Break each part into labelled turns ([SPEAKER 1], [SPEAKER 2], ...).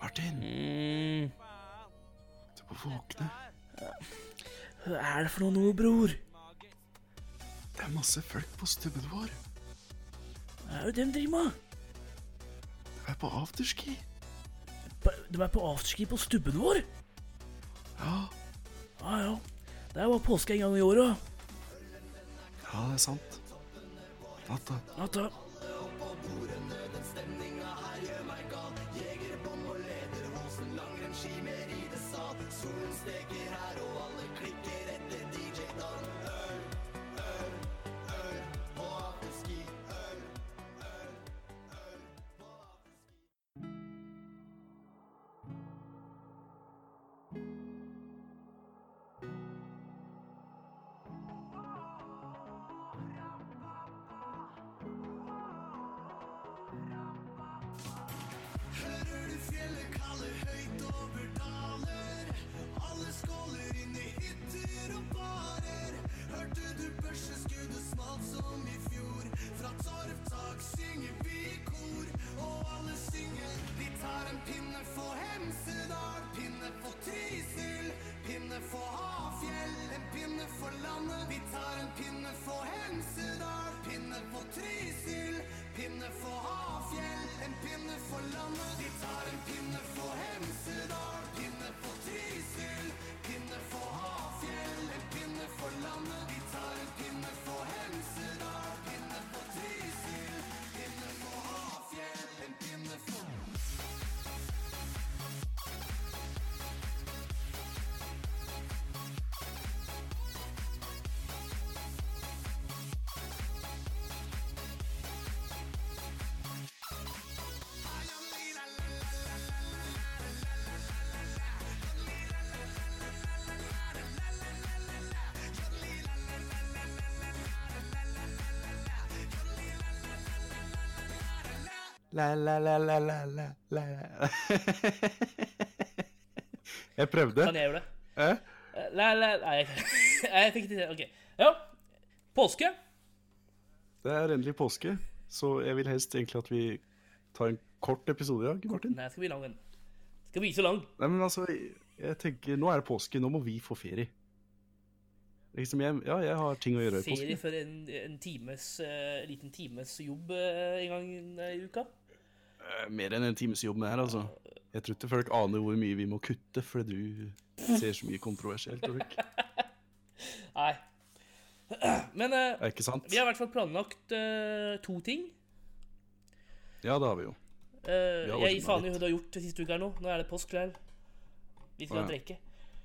[SPEAKER 1] Martin,
[SPEAKER 2] Mm,
[SPEAKER 1] du må våkne.
[SPEAKER 2] hva er det for noe nå, bror?
[SPEAKER 1] Det er masse folk på stubben vår.
[SPEAKER 2] Hva er det de driver med?
[SPEAKER 1] De er på afterski.
[SPEAKER 2] På- De er på afterski på stubben vår?
[SPEAKER 1] Ja,
[SPEAKER 2] Ja, ja. Det er bare påske en gang i året.
[SPEAKER 1] ja, det er sant. Natta.
[SPEAKER 2] Natta.
[SPEAKER 1] La-la-la-la-la-la. Jeg prøvde.
[SPEAKER 2] Kan jeg gjøre det?
[SPEAKER 1] Eh?
[SPEAKER 2] Eh, Nei, nei, nei jeg, jeg fikk det til. Ok. Ja. Påske.
[SPEAKER 1] Det er endelig påske, så jeg vil helst egentlig at vi tar en kort episode i dag, Martin.
[SPEAKER 2] Nei, jeg skal bli lang. den. Skal bli så lang.
[SPEAKER 1] Nei, men altså, jeg tenker, nå er det påske, nå må vi få ferie. Liksom, jeg, ja, jeg har ting å gjøre i
[SPEAKER 2] Ferie
[SPEAKER 1] påsken.
[SPEAKER 2] for en, en times, eh, liten times jobb eh, en gang i uka.
[SPEAKER 1] Eh, Mer enn en times jobb med det her, altså. Jeg tror ikke folk aner hvor mye vi må kutte, fordi du ser så mye kontroversielt, Ulrik.
[SPEAKER 2] Nei. Men eh,
[SPEAKER 1] Er ikke sant?
[SPEAKER 2] vi har i hvert fall planlagt eh, to ting.
[SPEAKER 1] Ja, det har vi jo.
[SPEAKER 2] Eh,
[SPEAKER 1] Vi har
[SPEAKER 2] jeg gir
[SPEAKER 1] ordnet
[SPEAKER 2] faen i
[SPEAKER 1] litt.
[SPEAKER 2] hva du har gjort de siste uka her nå. Nå er det påske her. Vi
[SPEAKER 1] Å,
[SPEAKER 2] skal
[SPEAKER 1] ja.
[SPEAKER 2] drikke.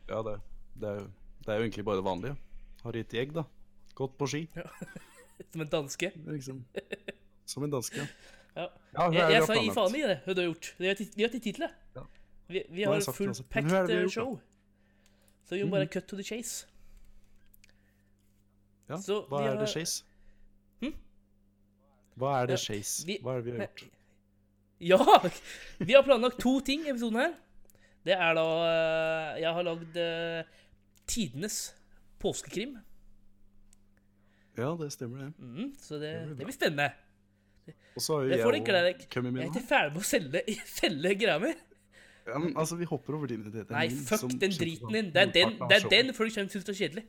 [SPEAKER 1] Ja, det, det, er, jo- det er jo egentlig bare det vanlige. Har gitt jeg, da. Gått på ski,
[SPEAKER 2] Som en danske.
[SPEAKER 1] liksom. Som en danske, ja. Ja,
[SPEAKER 2] Ja.
[SPEAKER 1] det er
[SPEAKER 2] Jeg,
[SPEAKER 1] jo
[SPEAKER 2] jeg sa gi
[SPEAKER 1] planlagt.
[SPEAKER 2] faen i det, hva du har gjort. Vi har tit- vi har til titlet.
[SPEAKER 1] Ja.
[SPEAKER 2] Vi, vi
[SPEAKER 1] Nå har
[SPEAKER 2] har
[SPEAKER 1] jeg
[SPEAKER 2] et
[SPEAKER 1] sagt det
[SPEAKER 2] full
[SPEAKER 1] også. Men hva er
[SPEAKER 2] packed
[SPEAKER 1] det vi har
[SPEAKER 2] eh,
[SPEAKER 1] gjort, da?
[SPEAKER 2] show. Så vi må bare cut to the chase.
[SPEAKER 1] Ja,
[SPEAKER 2] Så
[SPEAKER 1] hva
[SPEAKER 2] vi
[SPEAKER 1] er det
[SPEAKER 2] har-
[SPEAKER 1] Chase?
[SPEAKER 2] Hm?
[SPEAKER 1] Hva er det
[SPEAKER 2] Ja,
[SPEAKER 1] Chase?
[SPEAKER 2] vi-
[SPEAKER 1] Hva er det vi har gjort?
[SPEAKER 2] Ja! Vi har planlagt to ting i episoden her. Det er da eh, Jeg har lagd eh, tidenes påskekrim.
[SPEAKER 1] Ja, det stemmer det.
[SPEAKER 2] Mhm, så det,
[SPEAKER 1] Det blir bra.
[SPEAKER 2] det blir spennende.
[SPEAKER 1] Og så har jo
[SPEAKER 2] Det får du
[SPEAKER 1] jeg
[SPEAKER 2] ikke glede deg.
[SPEAKER 1] og kommet
[SPEAKER 2] Jeg er
[SPEAKER 1] med
[SPEAKER 2] ikke
[SPEAKER 1] noe.
[SPEAKER 2] ferdig med å selge, selge greia mi.
[SPEAKER 1] Ja, men, altså, vi hopper over din idé. Det er
[SPEAKER 2] Nei,
[SPEAKER 1] min
[SPEAKER 2] fuck
[SPEAKER 1] som
[SPEAKER 2] den
[SPEAKER 1] kjemper
[SPEAKER 2] driten
[SPEAKER 1] for
[SPEAKER 2] din. Det er den,
[SPEAKER 1] motparten av
[SPEAKER 2] det er
[SPEAKER 1] showet.
[SPEAKER 2] den folk kommer til å synes det er kjedelig.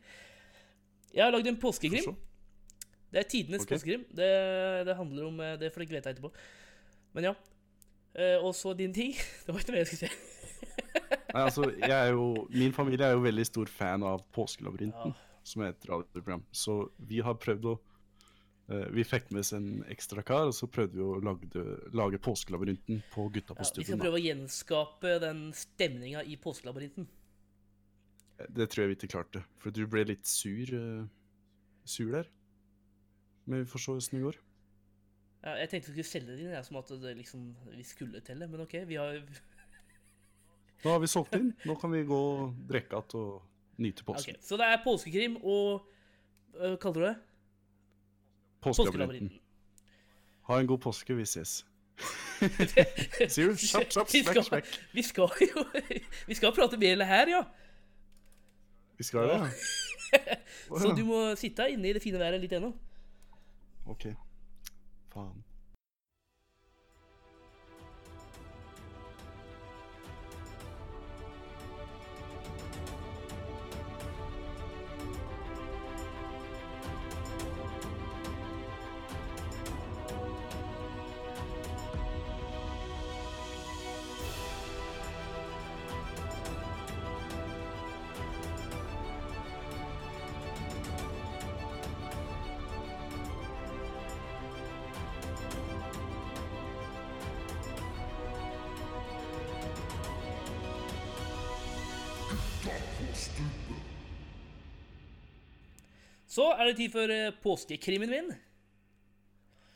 [SPEAKER 2] Jeg har lagd en påskekrim.
[SPEAKER 1] Så-
[SPEAKER 2] Det er tidenes
[SPEAKER 1] Ok.
[SPEAKER 2] påskekrim. Det, det handler om eh, det, for det gleder jeg etterpå. Men ja. Eh, og så din ting. Det var ikke noe jeg skulle si.
[SPEAKER 1] Nei, altså, jeg er jo, min familie er jo veldig stor fan av Påskelabyrinten,
[SPEAKER 2] Ja.
[SPEAKER 1] som er et radioprogram. Så vi har prøvd å eh, Vi fikk med oss en ekstra kar, og så prøvde vi å lage, lage Påskelabyrinten på Gutta på
[SPEAKER 2] Ja, vi skal
[SPEAKER 1] stubben. da.
[SPEAKER 2] prøve å gjenskape den stemninga i påskelabyrinten.
[SPEAKER 1] Det tror jeg vi ikke klarte, for du ble litt sur, eh, sur der. Men vi får se hvordan det går.
[SPEAKER 2] Ja, jeg tenkte vi skulle selge den inn, jeg, som at det liksom, vi skulle til det, men OK. Vi har
[SPEAKER 1] Nå har vi solgt inn, nå kan vi gå og drikke igjen og nyte
[SPEAKER 2] Ok,
[SPEAKER 1] påsken.
[SPEAKER 2] Så det er påskekrim og øh, Hva kaller du det?
[SPEAKER 1] Påskelabyrinten.
[SPEAKER 2] Påskelabyrinten.
[SPEAKER 1] Ha en god påske, vi ses. Sier du? Kjapp, kjapp,
[SPEAKER 2] Vi
[SPEAKER 1] smekk,
[SPEAKER 2] skal-
[SPEAKER 1] smekk.
[SPEAKER 2] Vi skal jo Vi skal prate mer eller her, ja.
[SPEAKER 1] Vi skal det, ja. Å,
[SPEAKER 2] Så
[SPEAKER 1] ja.
[SPEAKER 2] du må sitte inne i det fine været litt ennå.
[SPEAKER 1] Ok. Faen.
[SPEAKER 2] Så er det tid for eh, påskekrimmen min.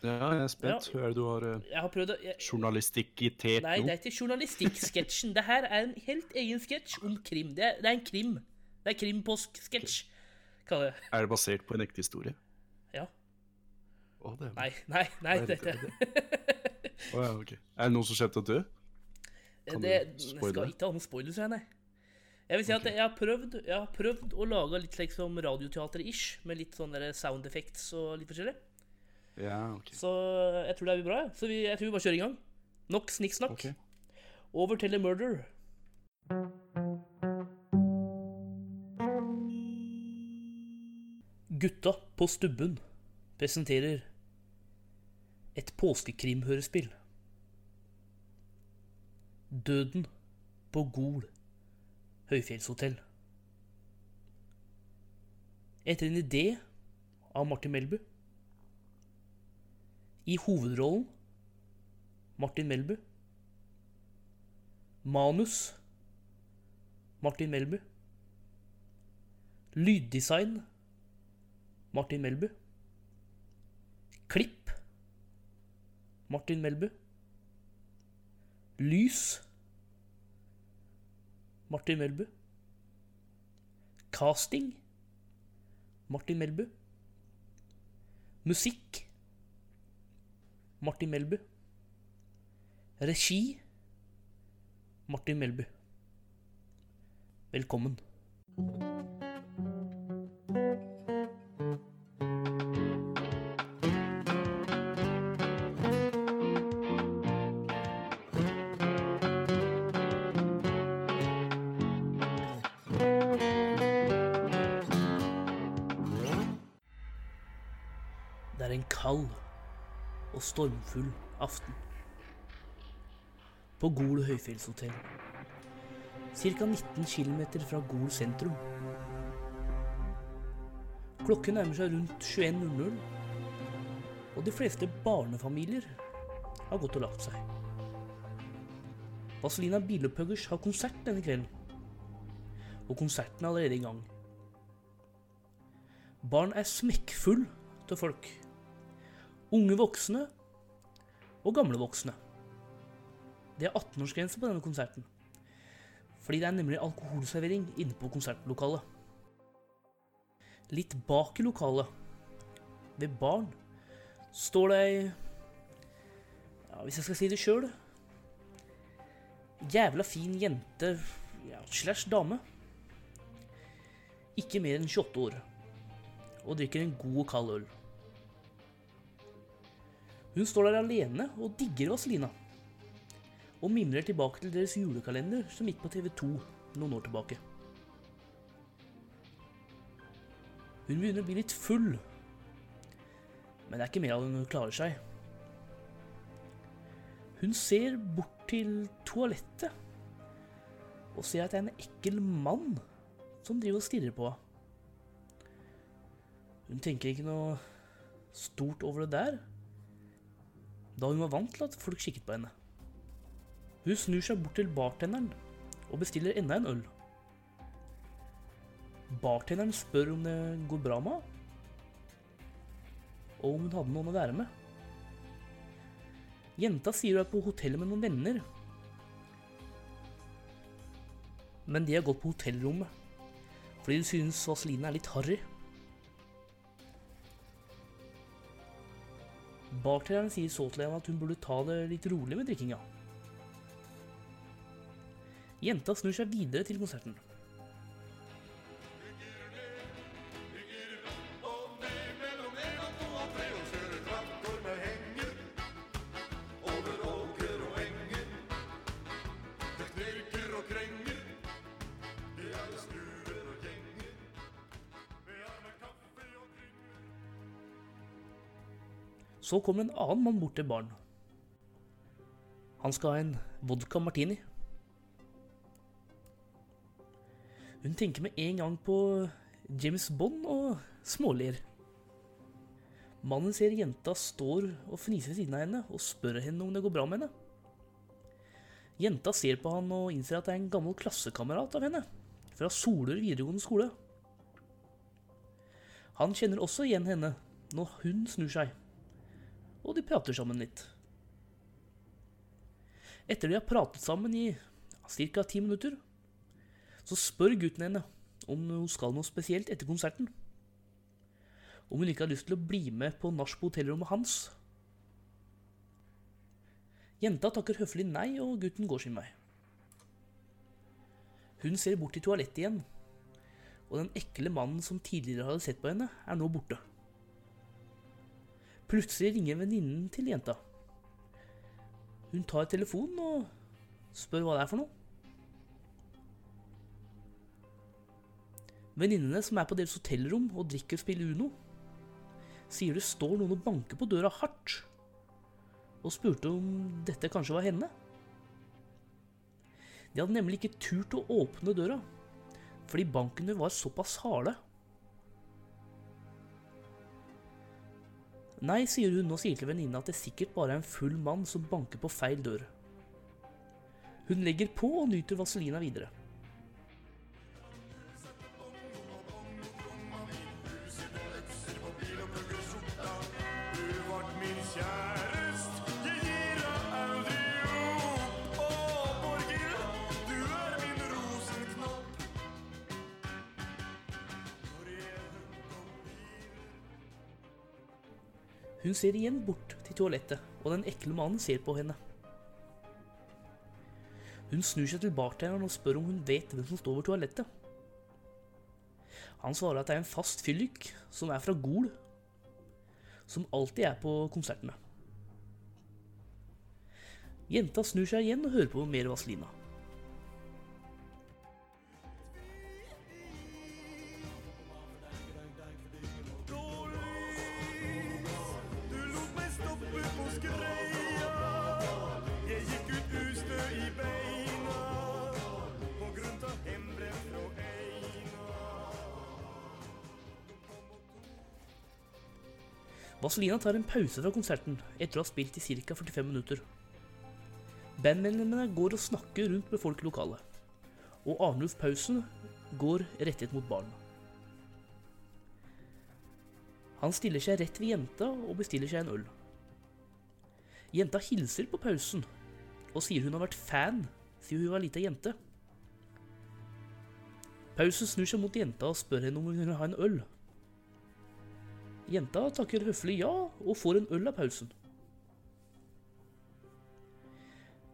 [SPEAKER 1] Ja, jeg er spent. Hva er det du har eh,
[SPEAKER 2] Jeg har prøvd å jeg,
[SPEAKER 1] Journalistikk i te
[SPEAKER 2] Nei, det
[SPEAKER 1] nå?
[SPEAKER 2] er ikke journalistikksketsjen. Det her er en helt egen sketsj om krim. Det er, det er en krim. Det er krimpåsksketsj, kaller jeg det.
[SPEAKER 1] Er det basert på en ekte historie?
[SPEAKER 2] Ja.
[SPEAKER 1] Å, det er...
[SPEAKER 2] Nei, nei,
[SPEAKER 1] Hva
[SPEAKER 2] nei.
[SPEAKER 1] er
[SPEAKER 2] Det,
[SPEAKER 1] det-
[SPEAKER 2] det,
[SPEAKER 1] Å, ja, ok. Er det noen som skjedde død?
[SPEAKER 2] det,
[SPEAKER 1] Kan
[SPEAKER 2] det
[SPEAKER 1] du spoile
[SPEAKER 2] skal
[SPEAKER 1] det?
[SPEAKER 2] ikke ha noen spoilers her, nei. Jeg vil si at jeg har prøvd, jeg har prøvd å lage litt slik som radioteater-ish, med litt sånne der sound effects og litt forskjellig.
[SPEAKER 1] Ja, OK.
[SPEAKER 2] Så jeg tror det blir bra. jeg. Så vi, jeg tror vi bare kjører i gang. Nok snikksnakk.
[SPEAKER 1] Ok.
[SPEAKER 2] Over til the murder. Gutta på stubben presenterer et påskekrimhørespill. Døden på Gol høyfjellshotell. Etter en idé av Martin Melbu. I hovedrollen Martin Melbu. Manus Martin Melbu. Lyddesign Martin Melbu. Klipp Martin Melbu. Lys Martin Melbu. Casting Martin Melbu. Musikk Martin Melbu. Regi Martin Melby. Velkommen. Det er en kald og stormfull aften på Gol høyfjellshotell. Ca. 19 km fra Gol sentrum. Klokken nærmer seg rundt 21.00, og de fleste barnefamilier har gått og lagt seg. Vazelina Bilopphuggers har konsert denne kvelden, og konserten er allerede i gang. Barn er smekkfull til folk. Unge voksne og gamle voksne. Det er 18-årsgrense på denne konserten. Fordi det er nemlig alkoholservering inne på konsertlokalet. Litt bak i lokalet, ved baren, står det ei ja, Hvis jeg skal si det sjøl Jævla fin jente ja, slash dame. Ikke mer enn 28 år. Og drikker en god og kald øl. Hun står der alene og digger Vazelina og mimrer tilbake til deres julekalender som gikk på TV2 noen år tilbake. Hun begynner å bli litt full, men det er ikke mer av det enn hun klarer seg. Hun ser bort til toalettet og ser at det er en ekkel mann som driver og stirrer på henne. Hun tenker ikke noe stort over det der, da hun var vant til at folk kikket på henne. Hun snur seg bort til bartenderen og bestiller enda en øl. Bartenderen spør om det går bra med henne, og om hun hadde noen å være med. Jenta sier hun er på hotellet med noen venner, men de har gått på hotellrommet fordi de synes Vazelina er litt harry. Bartenderen sier så til henne at hun burde ta det litt rolig med drikkinga. Jenta snur seg videre til konserten. Så kommer en annen mann bort til baren. Han skal ha en vodka martini. Hun tenker med en gang på James Bond og småler. Mannen ser jenta står og fniser ved siden av henne og spør henne om det går bra med henne. Jenta ser på han og innser at det er en gammel klassekamerat av henne fra Solør videregående skole. Han kjenner også igjen henne når hun snur seg, og de prater sammen litt. Etter de har pratet sammen i ca. ti minutter, så spør gutten henne om hun skal noe spesielt etter konserten. Om hun ikke har lyst til å bli med på nach på hotellrommet hans. Jenta takker høflig nei, og gutten går sin vei. Hun ser bort til toalettet igjen, og den ekle mannen som tidligere hadde sett på henne, er nå borte. Plutselig ringer venninnen til jenta. Hun tar telefonen og spør hva det er for noe. Venninnene som er på deres hotellrom og drikker og spiller Uno, sier det står noen og banker på døra hardt, og spurte om dette kanskje var henne. De hadde nemlig ikke turt å åpne døra, fordi bankene var såpass harde. Nei, sier hun og sier til venninna at det sikkert bare er en full mann som banker på feil dør. Hun legger på og nyter vaselina videre.
[SPEAKER 3] Du vart min kjærest, jeg gir deg aldri opp. Å, Borghild, du er min rosenknopp. Når jeg hørt om livet
[SPEAKER 2] Hun ser igjen bort til toalettet, og den ekle mannen ser på henne. Hun snur seg til bartenderen og spør om hun vet hvem som står ved toalettet. Han svarer at det er en fast fyllik som er fra Gol, som alltid er på konsertene. Jenta snur seg igjen og hører på mer Vazelina.
[SPEAKER 3] Du lot meg stoppe på skreia. Jeg gikk ut ustø i beina på grunn av hembrev og eina.
[SPEAKER 2] Vazelina tar en pause fra konserten etter å ha spilt i ca. 45 minutter. Bandmedlemmene går og snakker rundt med folk i lokalet, og Arnulf Pausen går rettet mot baren. Han stiller seg rett ved jenta og bestiller seg en øl. Jenta hilser på Pausen og sier hun har vært fan siden hun var lita jente. Pausen snur seg mot jenta og spør henne om hun vil ha en øl. Jenta takker høflig ja og får en øl av pausen.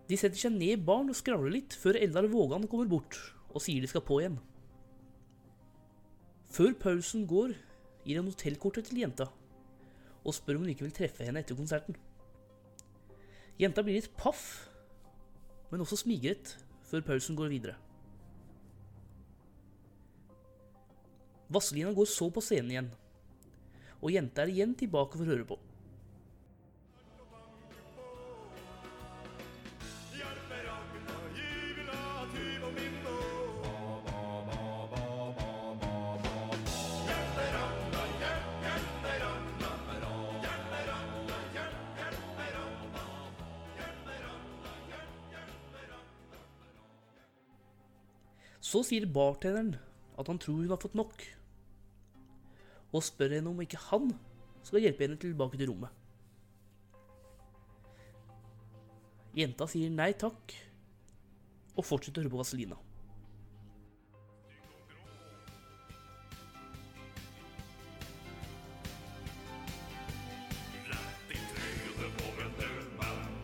[SPEAKER 2] De setter seg ned i baren og skravler litt før Eldar Vågan kommer bort og sier de skal på igjen. Før pausen går, gir han hotellkortet til jenta og spør om hun ikke vil treffe henne etter konserten. Jenta blir litt paff, men også smigret, før pausen går videre. Vazelina går så på scenen igjen, og jenta er igjen tilbake for å høre på.
[SPEAKER 3] Hjelper akna, gyvla, tyv og min nå. Hjelper akna, hjelp, hjelper akna. Hjelper akna, hjelp, hjelper akna. Hjelper akna, hjelp, hjelper akna.
[SPEAKER 2] Så sier bartenderen at han tror hun har fått nok, og spør henne om ikke han skal hjelpe henne tilbake til rommet. Jenta sier nei takk, og fortsetter å høre på Vazelina.
[SPEAKER 3] Rett i trynet på en død mann.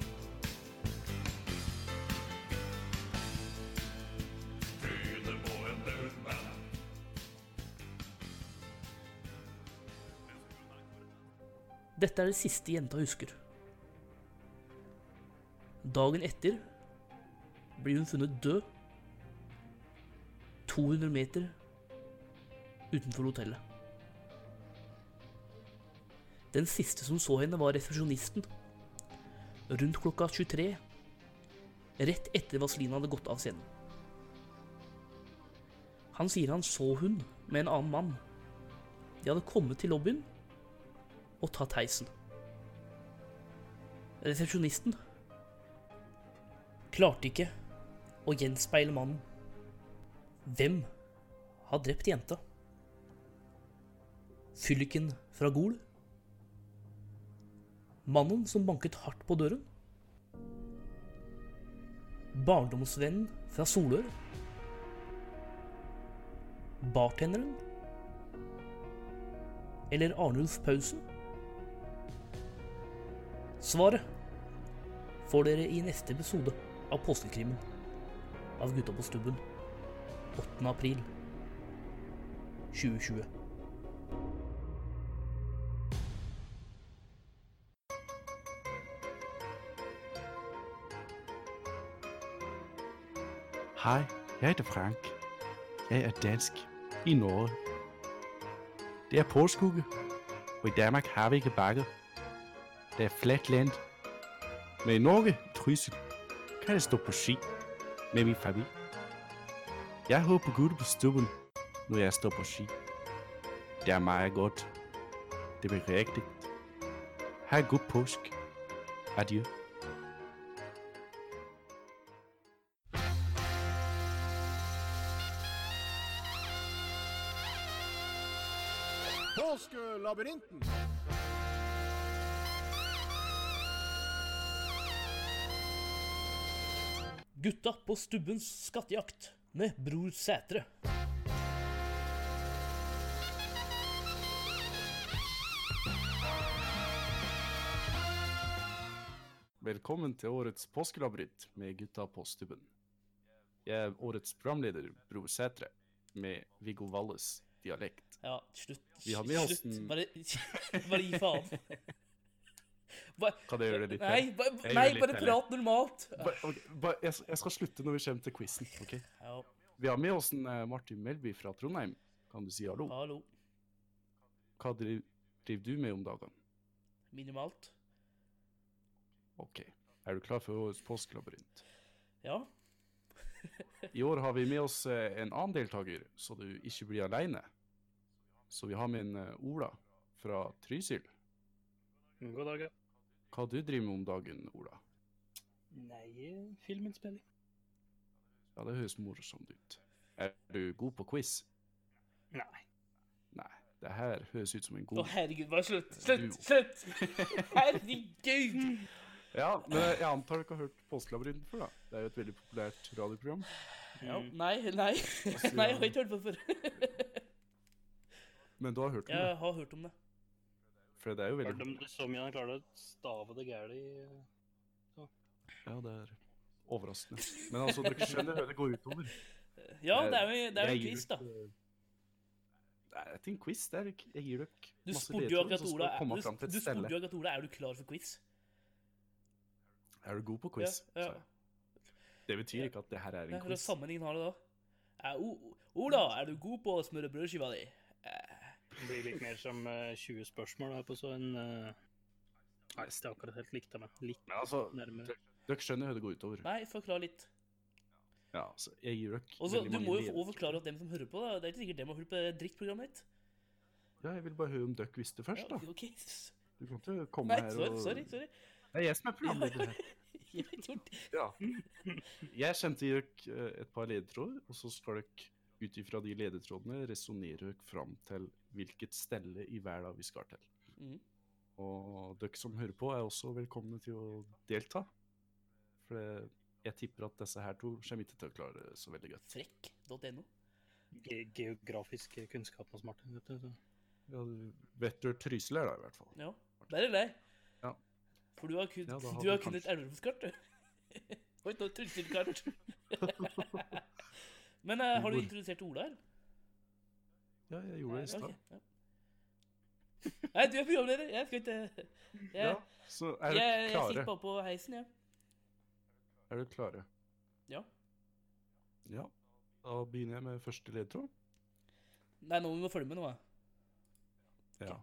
[SPEAKER 3] Trynet på en død mann.
[SPEAKER 2] Dette er det siste jenta husker. Dagen etter blir hun funnet død 200 meter utenfor hotellet. Den siste som så henne, var resepsjonisten. Rundt klokka 23. Rett etter Vazelina hadde gått av scenen. Han sier han så hun med en annen mann. De hadde kommet til lobbyen og tatt heisen. Resepsjonisten klarte ikke å gjenspeile mannen. Hvem har drept jenta. Fylliken fra Gol. Mannen som banket hardt på døren. Barndomsvennen fra Solør. Bartenderen. Eller Arnulf Pausen? Svaret får dere i neste episode av Påskekrimmen av Gutta på stubben 8. april 2020.
[SPEAKER 1] Hei, jeg heter Frank. Jeg er dansk i Norge. Det er påskeuge, og i Danmark har vi ikke bakker. Det er fladt land. Men i Norge, Trysil, kan jeg stå på ski med min familie. Jeg håber på gutte på stubben, når jeg står på ski. Det er meget godt. Det bliver rigtigt. Ha' en god påsk. Adieu.
[SPEAKER 3] Påskelabyrinten.
[SPEAKER 2] Gutta på stubbens skattejakt med Bror Sætre.
[SPEAKER 1] Velkommen til årets påskelabyrinth med gutta på stubben. Jeg er årets programleder, Bror Sætre, med Viggo Valles dialekt.
[SPEAKER 2] Ja, slutt.
[SPEAKER 1] Vi har med oss
[SPEAKER 2] slutt.
[SPEAKER 1] den-
[SPEAKER 2] Bare, bare gi faen. Bare,
[SPEAKER 1] Kan jeg gjøre det litt
[SPEAKER 2] nei,
[SPEAKER 1] til?
[SPEAKER 2] bare,
[SPEAKER 1] Jeg
[SPEAKER 2] nei,
[SPEAKER 1] gjør litt
[SPEAKER 2] bare
[SPEAKER 1] til.
[SPEAKER 2] prat normalt.
[SPEAKER 1] Ba, ok, ba, jeg, s- jeg skal slutte når vi kommer til quizen. ok?
[SPEAKER 2] Ja,
[SPEAKER 1] Vi har med oss en, eh, Martin Melby fra Trondheim. Kan du si hallo?
[SPEAKER 2] hallo.
[SPEAKER 1] Hva driv, driver du med om dagene?
[SPEAKER 2] Minimalt.
[SPEAKER 1] OK. Er du klar for årets påskelabyrint?
[SPEAKER 2] Ja.
[SPEAKER 1] I år har vi med oss eh, en annen deltaker, så du ikke blir aleine. Så vi har med en eh, Ola fra Trysil.
[SPEAKER 4] God dag, ja.
[SPEAKER 1] Hva du driver med om dagen, Ola?
[SPEAKER 4] Nei, filminnspilling.
[SPEAKER 1] Ja, det høres morsomt ut. Er du god på quiz?
[SPEAKER 4] Nei.
[SPEAKER 1] Nei, det her høres ut som en
[SPEAKER 2] Å,
[SPEAKER 1] god
[SPEAKER 2] herregud, bare slutt.
[SPEAKER 1] Du-
[SPEAKER 2] Slutt, slutt. Herregud.
[SPEAKER 1] Ja, men jeg antar du ikke har hørt Påskelabyrinten før, da? Det er jo et veldig populært radioprogram.
[SPEAKER 2] Ja, Mm. nei, nei. Nei, jeg har ikke hørt på det før.
[SPEAKER 1] Men du har hørt om
[SPEAKER 2] Jeg har hørt om det.
[SPEAKER 1] det? For det er jo
[SPEAKER 4] Har
[SPEAKER 1] veldig
[SPEAKER 4] de det så mye han klarer å stave det gærent i eh,
[SPEAKER 1] Ja, det er overraskende. Men altså, dere skjønner hva det går utover.
[SPEAKER 2] Ja, det er jo, det er jo
[SPEAKER 1] Jeg
[SPEAKER 2] en
[SPEAKER 1] gir
[SPEAKER 2] quiz, da.
[SPEAKER 1] dere- Nei, det er ikke en quiz. Det er ikke Jeg gir dere
[SPEAKER 2] Du
[SPEAKER 1] masse
[SPEAKER 2] spurte jo
[SPEAKER 1] ledtråder,
[SPEAKER 2] akkurat
[SPEAKER 1] så skal
[SPEAKER 2] Ola
[SPEAKER 1] dere
[SPEAKER 2] du,
[SPEAKER 1] komme
[SPEAKER 2] du
[SPEAKER 1] fram til et
[SPEAKER 2] spurte
[SPEAKER 1] stelle.
[SPEAKER 2] jo akkurat Ola, er du klar for quiz.
[SPEAKER 1] Er du god på quiz?
[SPEAKER 2] Ja, ja.
[SPEAKER 1] sa jeg. Det betyr ikke at det her er
[SPEAKER 2] Nei,
[SPEAKER 1] en
[SPEAKER 2] Hvordan
[SPEAKER 1] quiz.
[SPEAKER 2] sammenhengen har det da? Er, o, Ola, er du god på å smøre brødskiva di?
[SPEAKER 4] Det blir litt mer som eh, 20 spørsmål her på så en eh, Nei, det er akkurat helt likt av meg. Litt
[SPEAKER 1] Men altså,
[SPEAKER 4] nærmere.
[SPEAKER 1] dere skjønner hva det går utover.
[SPEAKER 2] Nei, forklar litt.
[SPEAKER 1] Ja, så jeg gir dere
[SPEAKER 2] Og så,
[SPEAKER 1] veldig
[SPEAKER 2] Du
[SPEAKER 1] mange
[SPEAKER 2] må jo
[SPEAKER 1] ledtråder.
[SPEAKER 2] få forklare at dem som hører på, da. det er ikke sikkert dem har hørt på det drittprogrammet ditt.
[SPEAKER 1] Ja, jeg vil bare høre om dere visste først,
[SPEAKER 2] Ja,
[SPEAKER 1] da.
[SPEAKER 2] ok.
[SPEAKER 1] Du kan ikke komme
[SPEAKER 2] Nei,
[SPEAKER 1] her
[SPEAKER 2] sorry,
[SPEAKER 1] og
[SPEAKER 2] sorry. sorry.
[SPEAKER 1] Det er jeg som er programleder her.
[SPEAKER 2] Jeg har ikke gjort det.
[SPEAKER 1] Ja. Jeg kommer til å gi dere eh, et par ledetråder, og så skal dere ut ifra de ledetrådene resonnere dere fram til hvilket stelle i verden vi skal til.
[SPEAKER 2] Mhm.
[SPEAKER 1] Og dere som hører på, er også velkomne til å delta. For det, jeg tipper at disse her to kommer ikke til å klare det så veldig godt.
[SPEAKER 2] Frekk.no.
[SPEAKER 4] Ge geografisk kunnskap hos Martin, vet du. Så.
[SPEAKER 1] Ja, du vet du Trysil er da, i hvert fall.
[SPEAKER 2] Ja. Der er deg.
[SPEAKER 1] Ja.
[SPEAKER 2] For du har kun,
[SPEAKER 1] Ja, da har
[SPEAKER 2] du
[SPEAKER 1] vi
[SPEAKER 2] har kun et
[SPEAKER 1] kanskje-
[SPEAKER 2] elverumskart, du. Og et Trysil-kart. Men eh, har du
[SPEAKER 1] Hvor-
[SPEAKER 2] introdusert Ola, eller?
[SPEAKER 1] Ja, jeg gjorde det i
[SPEAKER 2] Ok,
[SPEAKER 1] stad.
[SPEAKER 2] ja. Nei, du er programleder. Jeg skal ikke Jeg,
[SPEAKER 1] Ja, så er
[SPEAKER 2] jeg,
[SPEAKER 1] dere
[SPEAKER 2] jeg sitter
[SPEAKER 1] klare?
[SPEAKER 2] bare på heisen, jeg.
[SPEAKER 1] Er dere klare?
[SPEAKER 2] Ja.
[SPEAKER 1] Ja. Da begynner jeg med første ledetråd.
[SPEAKER 2] Nei, nå må vi følge med nå. da.
[SPEAKER 1] Ja.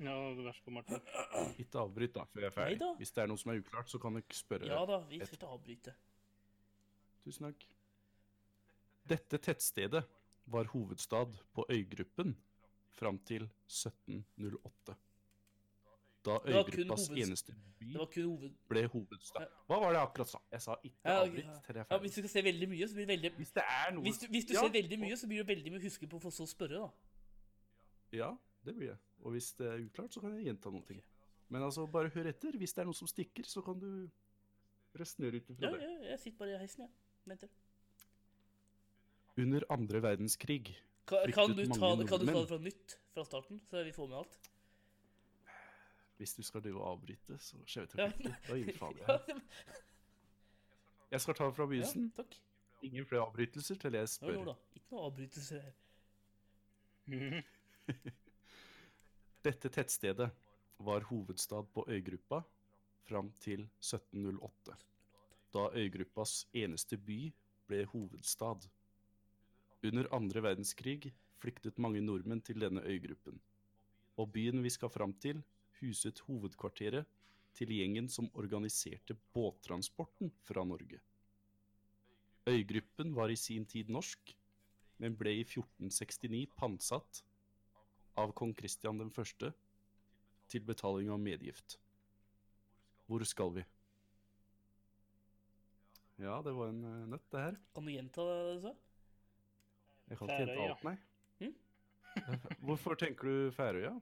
[SPEAKER 4] Ja, vær så god, Martin.
[SPEAKER 1] Ikke avbryt da, før jeg er ferdig.
[SPEAKER 2] Neida.
[SPEAKER 1] Hvis det er noe som er uklart, så kan dere spørre.
[SPEAKER 2] Ja da, vi skal ikke avbryte.
[SPEAKER 1] Tusen takk. Dette tettstedet var hovedstad på øygruppen fram til 1708. da
[SPEAKER 2] var kun
[SPEAKER 1] øygruppas
[SPEAKER 2] hoveds-
[SPEAKER 1] eneste by
[SPEAKER 2] Det var kun hoved...
[SPEAKER 1] ble hovedstad. Hva var det jeg akkurat sa? Jeg sa ikke
[SPEAKER 2] Ja,
[SPEAKER 1] avbryt til det er
[SPEAKER 2] ja,
[SPEAKER 1] ferdig.
[SPEAKER 2] hvis du skal se veldig mye, så blir det veldig
[SPEAKER 1] Hvis det er noe
[SPEAKER 2] Hvis du, hvis du
[SPEAKER 1] Ja,
[SPEAKER 2] ser veldig mye, så blir det veldig mye å huske på for så å spørre, da.
[SPEAKER 1] Ja, det blir det. Og hvis det er uklart, så kan jeg gjenta noen ting. Men altså, bare hør etter. Hvis det er noe som stikker, så kan du resonnere ut
[SPEAKER 2] Ja,
[SPEAKER 1] ifra det.
[SPEAKER 2] ja, jeg sitter bare i heisen, jeg. Venter.
[SPEAKER 1] Under andre verdenskrig
[SPEAKER 2] Kan, kan, du
[SPEAKER 1] Fryktet
[SPEAKER 2] ta,
[SPEAKER 1] mange
[SPEAKER 2] det- kan du ta
[SPEAKER 1] nordmenn.
[SPEAKER 2] det fra nytt, fra starten, så vi får med alt?
[SPEAKER 1] Hvis du skal drive og avbryte, så skjer det
[SPEAKER 2] Ja.
[SPEAKER 1] ikke. Da gir vi faen i
[SPEAKER 2] Ja,
[SPEAKER 1] det. Jeg skal ta det fra begynnelsen.
[SPEAKER 2] takk.
[SPEAKER 1] Ingen flere avbrytelser til jeg
[SPEAKER 2] Nå,
[SPEAKER 1] spør.
[SPEAKER 2] da. Ikke noe avbrytelse her.
[SPEAKER 1] Dette tettstedet var hovedstad på øygruppa fram til 1708, da øygruppas eneste by ble hovedstad. Under andre verdenskrig flyktet mange nordmenn til denne øygruppen, og byen vi skal fram til, huset hovedkvarteret til gjengen som organiserte båttransporten fra Norge. Øygruppen var i sin tid norsk, men ble i 1469 pantsatt av kong Kristian den første til betaling av medgift. Hvor skal vi? Ja, det var en eh, nøtt, det her.
[SPEAKER 2] Kan du gjenta det du sa?
[SPEAKER 1] Jeg kan ikke hente
[SPEAKER 4] Færøya.
[SPEAKER 1] alt, nei.
[SPEAKER 2] Hm?
[SPEAKER 1] Hvorfor tenker du Færøya?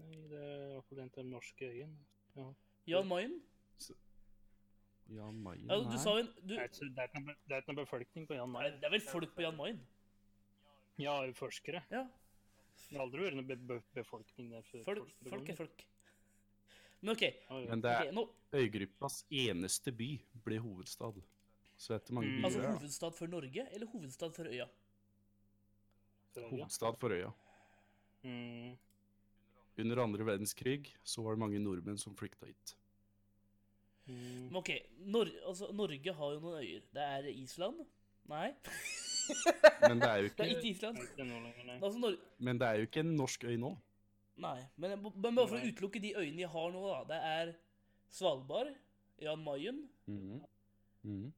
[SPEAKER 4] Nei, det er i hvert fall den til den norske øyen. Ja.
[SPEAKER 2] Jan Mayen?
[SPEAKER 1] Jan Mayen
[SPEAKER 2] Ja, du sa jo en du,
[SPEAKER 4] Det er ikke- det er ikke noe- det er ikke noe befolkning på Jan
[SPEAKER 2] Nei,
[SPEAKER 4] Mayen.
[SPEAKER 2] Det er vel folk på Jan Mayen?
[SPEAKER 4] Ja, forskere.
[SPEAKER 2] Ja.
[SPEAKER 4] Det har aldri vært noe be be befolkning der før.
[SPEAKER 2] Folk,
[SPEAKER 4] forskere
[SPEAKER 2] folk
[SPEAKER 4] kom.
[SPEAKER 2] er folk. Men OK.
[SPEAKER 4] Ja, ja.
[SPEAKER 1] Men det
[SPEAKER 2] ok,
[SPEAKER 1] er
[SPEAKER 2] nå,
[SPEAKER 1] øygruppas eneste by ble hovedstad. Så det er ikke mange
[SPEAKER 4] Mm.
[SPEAKER 1] byer
[SPEAKER 2] altså
[SPEAKER 1] her, da.
[SPEAKER 2] hovedstad for Norge, eller hovedstad for øya?
[SPEAKER 4] Før, ja.
[SPEAKER 1] Hovedstad for øya.
[SPEAKER 4] Mm.
[SPEAKER 1] Under andre verdenskrig så var det mange nordmenn som flykta hit.
[SPEAKER 4] Mm.
[SPEAKER 2] Men OK, Nor altså, Norge har jo noen øyer. Det er Island? Nei,
[SPEAKER 1] Men det er jo
[SPEAKER 2] det
[SPEAKER 1] ikke,
[SPEAKER 2] er ikke Island.
[SPEAKER 4] Det er ikke noe lenger, nei.
[SPEAKER 2] Altså, Nor
[SPEAKER 1] men det er jo ikke en norsk øy nå.
[SPEAKER 2] Nei, men, men bare for å utelukke de øyene jeg har nå, da. Det er Svalbard, Jan Mayen
[SPEAKER 1] Mhm. Mhm.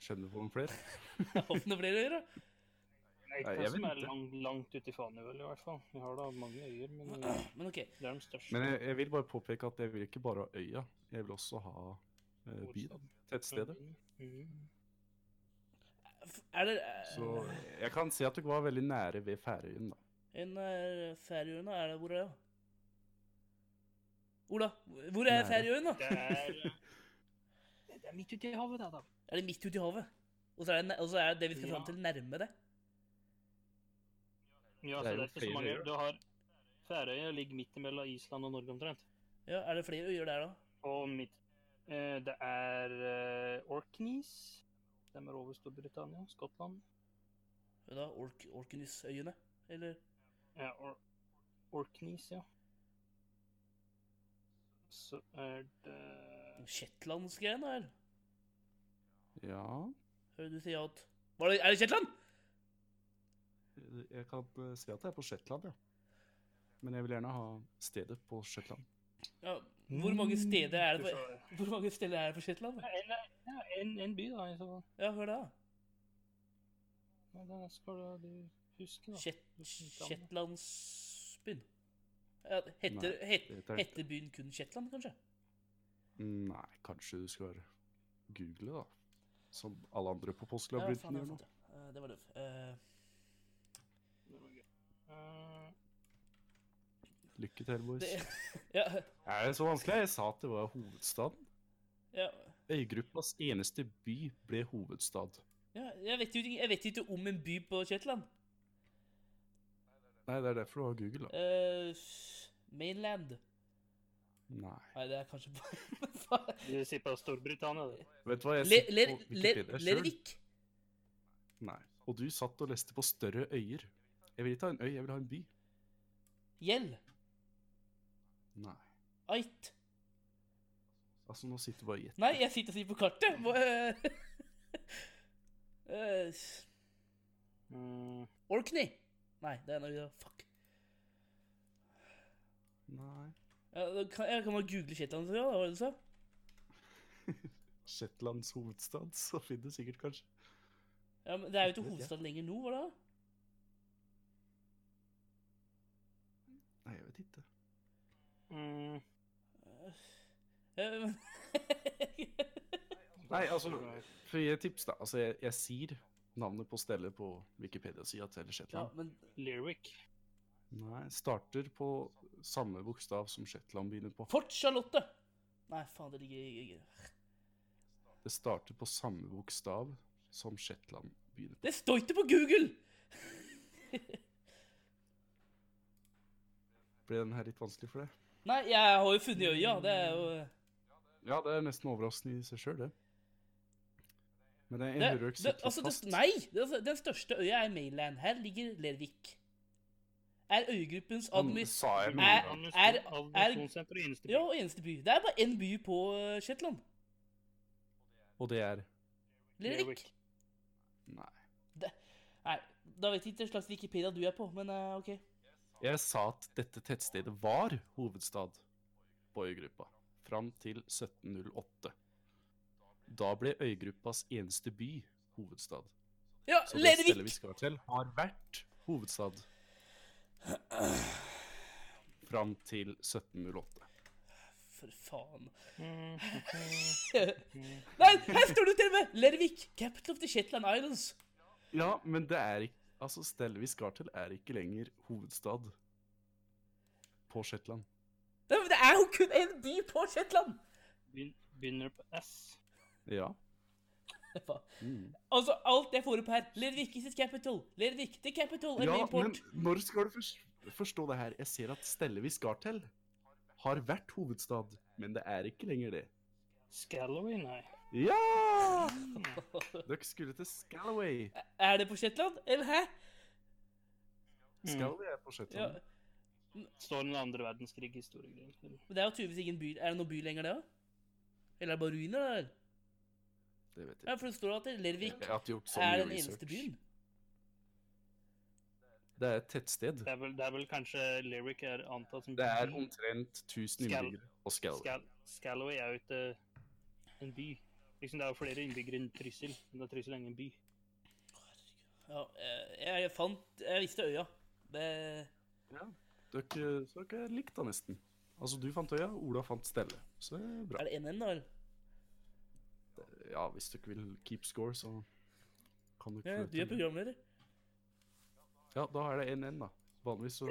[SPEAKER 1] Skjønner du på noen flere?
[SPEAKER 2] Jeg har ikke noen flere øyer, da.
[SPEAKER 4] Det er
[SPEAKER 1] Nei, jeg
[SPEAKER 4] ikke noe som
[SPEAKER 1] vet
[SPEAKER 4] er
[SPEAKER 1] ikke.
[SPEAKER 4] lang, langt ute i Fanevel, i hvert fall. Vi har da mange øyer, men eh,
[SPEAKER 2] Men OK.
[SPEAKER 4] det er den største.
[SPEAKER 1] Men eh, jeg, jeg vil bare påpeke at jeg vil ikke bare ha øya, jeg vil også ha eh, byen. Tettstedet.
[SPEAKER 4] Mm.
[SPEAKER 2] Er det eh,
[SPEAKER 1] Så jeg kan si at dere var veldig nære ved Færøyen, da.
[SPEAKER 2] En er Færøyene, er det hvor er det? Ola, hvor er
[SPEAKER 1] Nære.
[SPEAKER 2] Færøyene?
[SPEAKER 4] Det er eh, Det er midt ute i havet, det, da.
[SPEAKER 2] Er det midt ute i havet? Og så er det, næ- og så er det, det vi skal
[SPEAKER 4] Ja.
[SPEAKER 2] fram til, nærme det.
[SPEAKER 4] Ja,
[SPEAKER 1] Det
[SPEAKER 4] så
[SPEAKER 1] er
[SPEAKER 4] det
[SPEAKER 1] jo
[SPEAKER 4] er ikke så
[SPEAKER 1] flere
[SPEAKER 4] mange.
[SPEAKER 1] øyer.
[SPEAKER 4] Du har Færøya ligger midt mellom Island og Norge omtrent.
[SPEAKER 2] Ja, Er det flere øyer der, da?
[SPEAKER 4] Og midt eh, Det er eh, Orkneys. De er over Storbritannia, Skottland.
[SPEAKER 2] Ja, da Ork Orkenysøyene? Eller
[SPEAKER 4] Ja, Or Orkneys, ja. Så er det
[SPEAKER 2] Shetlandsgreiene her?
[SPEAKER 1] Ja
[SPEAKER 2] Hører du si at Var det, Er det Shetland?
[SPEAKER 1] Jeg kan eh, si at det er på Shetland, ja. Men jeg vil gjerne ha stedet på Shetland.
[SPEAKER 2] Ja, hvor mange steder er det
[SPEAKER 4] Skal
[SPEAKER 2] på,
[SPEAKER 4] vi se.
[SPEAKER 2] hvor mange steder er det på Shetland? da?
[SPEAKER 4] En, ja, en, en by, da. i så fall.
[SPEAKER 2] Ja, hør da.
[SPEAKER 4] Ja, Den skal du- du huske, da.
[SPEAKER 2] Shet Shetlandsbyen. Ja, heter,
[SPEAKER 1] Nei,
[SPEAKER 2] het,
[SPEAKER 1] det heter den ikke.
[SPEAKER 2] heter byen kun Shetland, kanskje?
[SPEAKER 1] Nei, kanskje du skal google, da. Som alle andre på
[SPEAKER 2] Ja,
[SPEAKER 1] påskelabyrinten
[SPEAKER 2] faen, det
[SPEAKER 1] gjør
[SPEAKER 2] var
[SPEAKER 1] nå.
[SPEAKER 2] sant, ja. Eh, Det var løv. Eh,
[SPEAKER 4] Det var gøy. Eh,
[SPEAKER 1] Lykke til, boys.
[SPEAKER 2] det, ja,
[SPEAKER 1] Er det så vanskelig? Jeg sa at det var hovedstaden.
[SPEAKER 2] ja,
[SPEAKER 1] Øygruppas eneste by ble hovedstad.
[SPEAKER 2] ja, jeg vet jo ikke- jeg vet jo ikke om en by på Shetland.
[SPEAKER 1] Nei, det er derfor du har Google, da.
[SPEAKER 2] Eh, mainland.
[SPEAKER 1] Nei.
[SPEAKER 2] Nei, det er kanskje bare
[SPEAKER 4] Du sier på Storbritannia, du.
[SPEAKER 1] Vet du hva jeg
[SPEAKER 2] Le-
[SPEAKER 1] sitter
[SPEAKER 2] Ler-
[SPEAKER 1] på
[SPEAKER 2] Ler-
[SPEAKER 1] Wikipedia selv?
[SPEAKER 2] Lervik.
[SPEAKER 1] Nei. Og du satt og leste på større øyer. Jeg vil ikke ha en øy, jeg vil ha en by.
[SPEAKER 2] Gjell.
[SPEAKER 1] Nei.
[SPEAKER 2] Ait.
[SPEAKER 1] Altså, nå sitter du bare og gjetter.
[SPEAKER 2] Nei, jeg sitter og sier på kartet. Må, eh, eh,
[SPEAKER 4] Mm,
[SPEAKER 2] Orkney. Nei, det er noe Fuck.
[SPEAKER 1] Nei.
[SPEAKER 2] Ja, da kan, jeg kan bare google Shetland, så ja, hva var det du sa?
[SPEAKER 1] Shetlands hovedstad, så finner du sikkert kanskje.
[SPEAKER 2] Ja, men Det er jo ikke hovedstaden lenger nå, hva da?
[SPEAKER 1] Nei, jeg vet ikke.
[SPEAKER 4] mm.
[SPEAKER 2] Eh,
[SPEAKER 1] Nei, altså, for jeg tips da. Altså, jeg, jeg sier navnet på stedet på Wikipedia-sida til
[SPEAKER 2] ja,
[SPEAKER 1] Shetland.
[SPEAKER 2] men
[SPEAKER 4] Lyric.
[SPEAKER 1] Nei, starter på samme bokstav som Shetland begynner på.
[SPEAKER 2] Fort Charlotte! Nei, faen, det ligger i
[SPEAKER 1] Det starter på samme bokstav som Shetland begynner på.
[SPEAKER 2] Det står ikke på Google!
[SPEAKER 1] Ble den her litt vanskelig for deg?
[SPEAKER 2] Nei, jeg har jo funnet øya.
[SPEAKER 1] Mm.
[SPEAKER 2] Det er jo
[SPEAKER 1] Ja, det er nesten overraskende i seg sjøl, det. Men det er en
[SPEAKER 2] det,
[SPEAKER 1] hørøk
[SPEAKER 2] det,
[SPEAKER 1] sitter
[SPEAKER 2] altså, det,
[SPEAKER 1] fast.
[SPEAKER 2] Nei! Det, altså, den største øya er Mainland. Her ligger Lervik. Er øygruppens
[SPEAKER 1] Han
[SPEAKER 2] administ...
[SPEAKER 1] Sånn, sa
[SPEAKER 4] Mm.
[SPEAKER 1] jeg
[SPEAKER 2] Er-
[SPEAKER 1] noe.
[SPEAKER 2] er- er-
[SPEAKER 4] Administrasjonssenter og eneste by.
[SPEAKER 2] Ja, og eneste by. Det er bare én by på eh, Shetland.
[SPEAKER 1] Og det er
[SPEAKER 2] Lervik.
[SPEAKER 4] Lerwick.
[SPEAKER 1] Nei.
[SPEAKER 2] Nei, da vet jeg ikke hva slags Wikipedia du er på, men eh, OK.
[SPEAKER 1] Jeg sa at dette tettstedet var hovedstad på øygruppa fram til 1708. Da ble øygruppas eneste by hovedstad.
[SPEAKER 2] Ja,
[SPEAKER 1] Så det stedet vi
[SPEAKER 2] Lervik!
[SPEAKER 1] skal til, har vært hovedstad fram til 1708.
[SPEAKER 2] For faen.
[SPEAKER 4] Mm.
[SPEAKER 2] Nei, her står det til og med! Lervik, capital of the Shetland Islands.
[SPEAKER 1] Ja, men det er ikke Altså, stedet vi skal til, er ikke lenger hovedstad på Shetland.
[SPEAKER 2] Nei, men det er jo kun én by på Shetland!
[SPEAKER 4] Begyn- Begynner på S.
[SPEAKER 1] Ja.
[SPEAKER 2] Faen. Altså, alt jeg får opp her. Lervik is its capital. Lervik, the capital of
[SPEAKER 1] Ja,
[SPEAKER 2] main
[SPEAKER 1] men
[SPEAKER 2] port.
[SPEAKER 1] når skal du fors- forstå det her? Jeg ser at stedet vi skal til, har vært hovedstad, men det er ikke lenger det.
[SPEAKER 4] Scalloway, nei.
[SPEAKER 1] Ja! Dere skulle til Scalloway.
[SPEAKER 2] Er det på Shetland? Eller hæ?
[SPEAKER 1] Scalloway er på
[SPEAKER 2] Mm. Ja,
[SPEAKER 1] Shetland.
[SPEAKER 4] Står den andre verdenskrig-historiegreien.
[SPEAKER 2] men det er jo tydeligvis ingen by. Er det noen by lenger, det òg? Eller er det bare ruiner, da? eller?
[SPEAKER 1] Det vet
[SPEAKER 2] Ja,
[SPEAKER 1] jeg.
[SPEAKER 2] for det står at Lervik
[SPEAKER 1] Jeg har ikke gjort så
[SPEAKER 2] er
[SPEAKER 1] mye
[SPEAKER 2] den eneste
[SPEAKER 1] research.
[SPEAKER 2] byen.
[SPEAKER 1] Det er et tettsted.
[SPEAKER 4] Det er vel, det er vel kanskje Lyric er antatt som
[SPEAKER 1] Det er omtrent 1000
[SPEAKER 4] Scal-
[SPEAKER 1] innbyggere på Scalloway.
[SPEAKER 4] Scal Scalloway er jo ikke en by. Liksom, det er jo flere innbyggere enn Trysil, men da er Trysil ingen by.
[SPEAKER 2] Ja, eh, jeg fant Jeg visste øya. Det,
[SPEAKER 1] Dere, så dere likte det nesten. Altså, du fant øya, Ola fant stedet. Så det er bra.
[SPEAKER 2] er det NN, da? eller?
[SPEAKER 1] Ja, hvis dere vil keep score, så kan dere
[SPEAKER 2] Ja,
[SPEAKER 1] få
[SPEAKER 2] du er
[SPEAKER 1] til det.
[SPEAKER 2] programleder.
[SPEAKER 1] Ja, da er det 1-1, da. Vanligvis så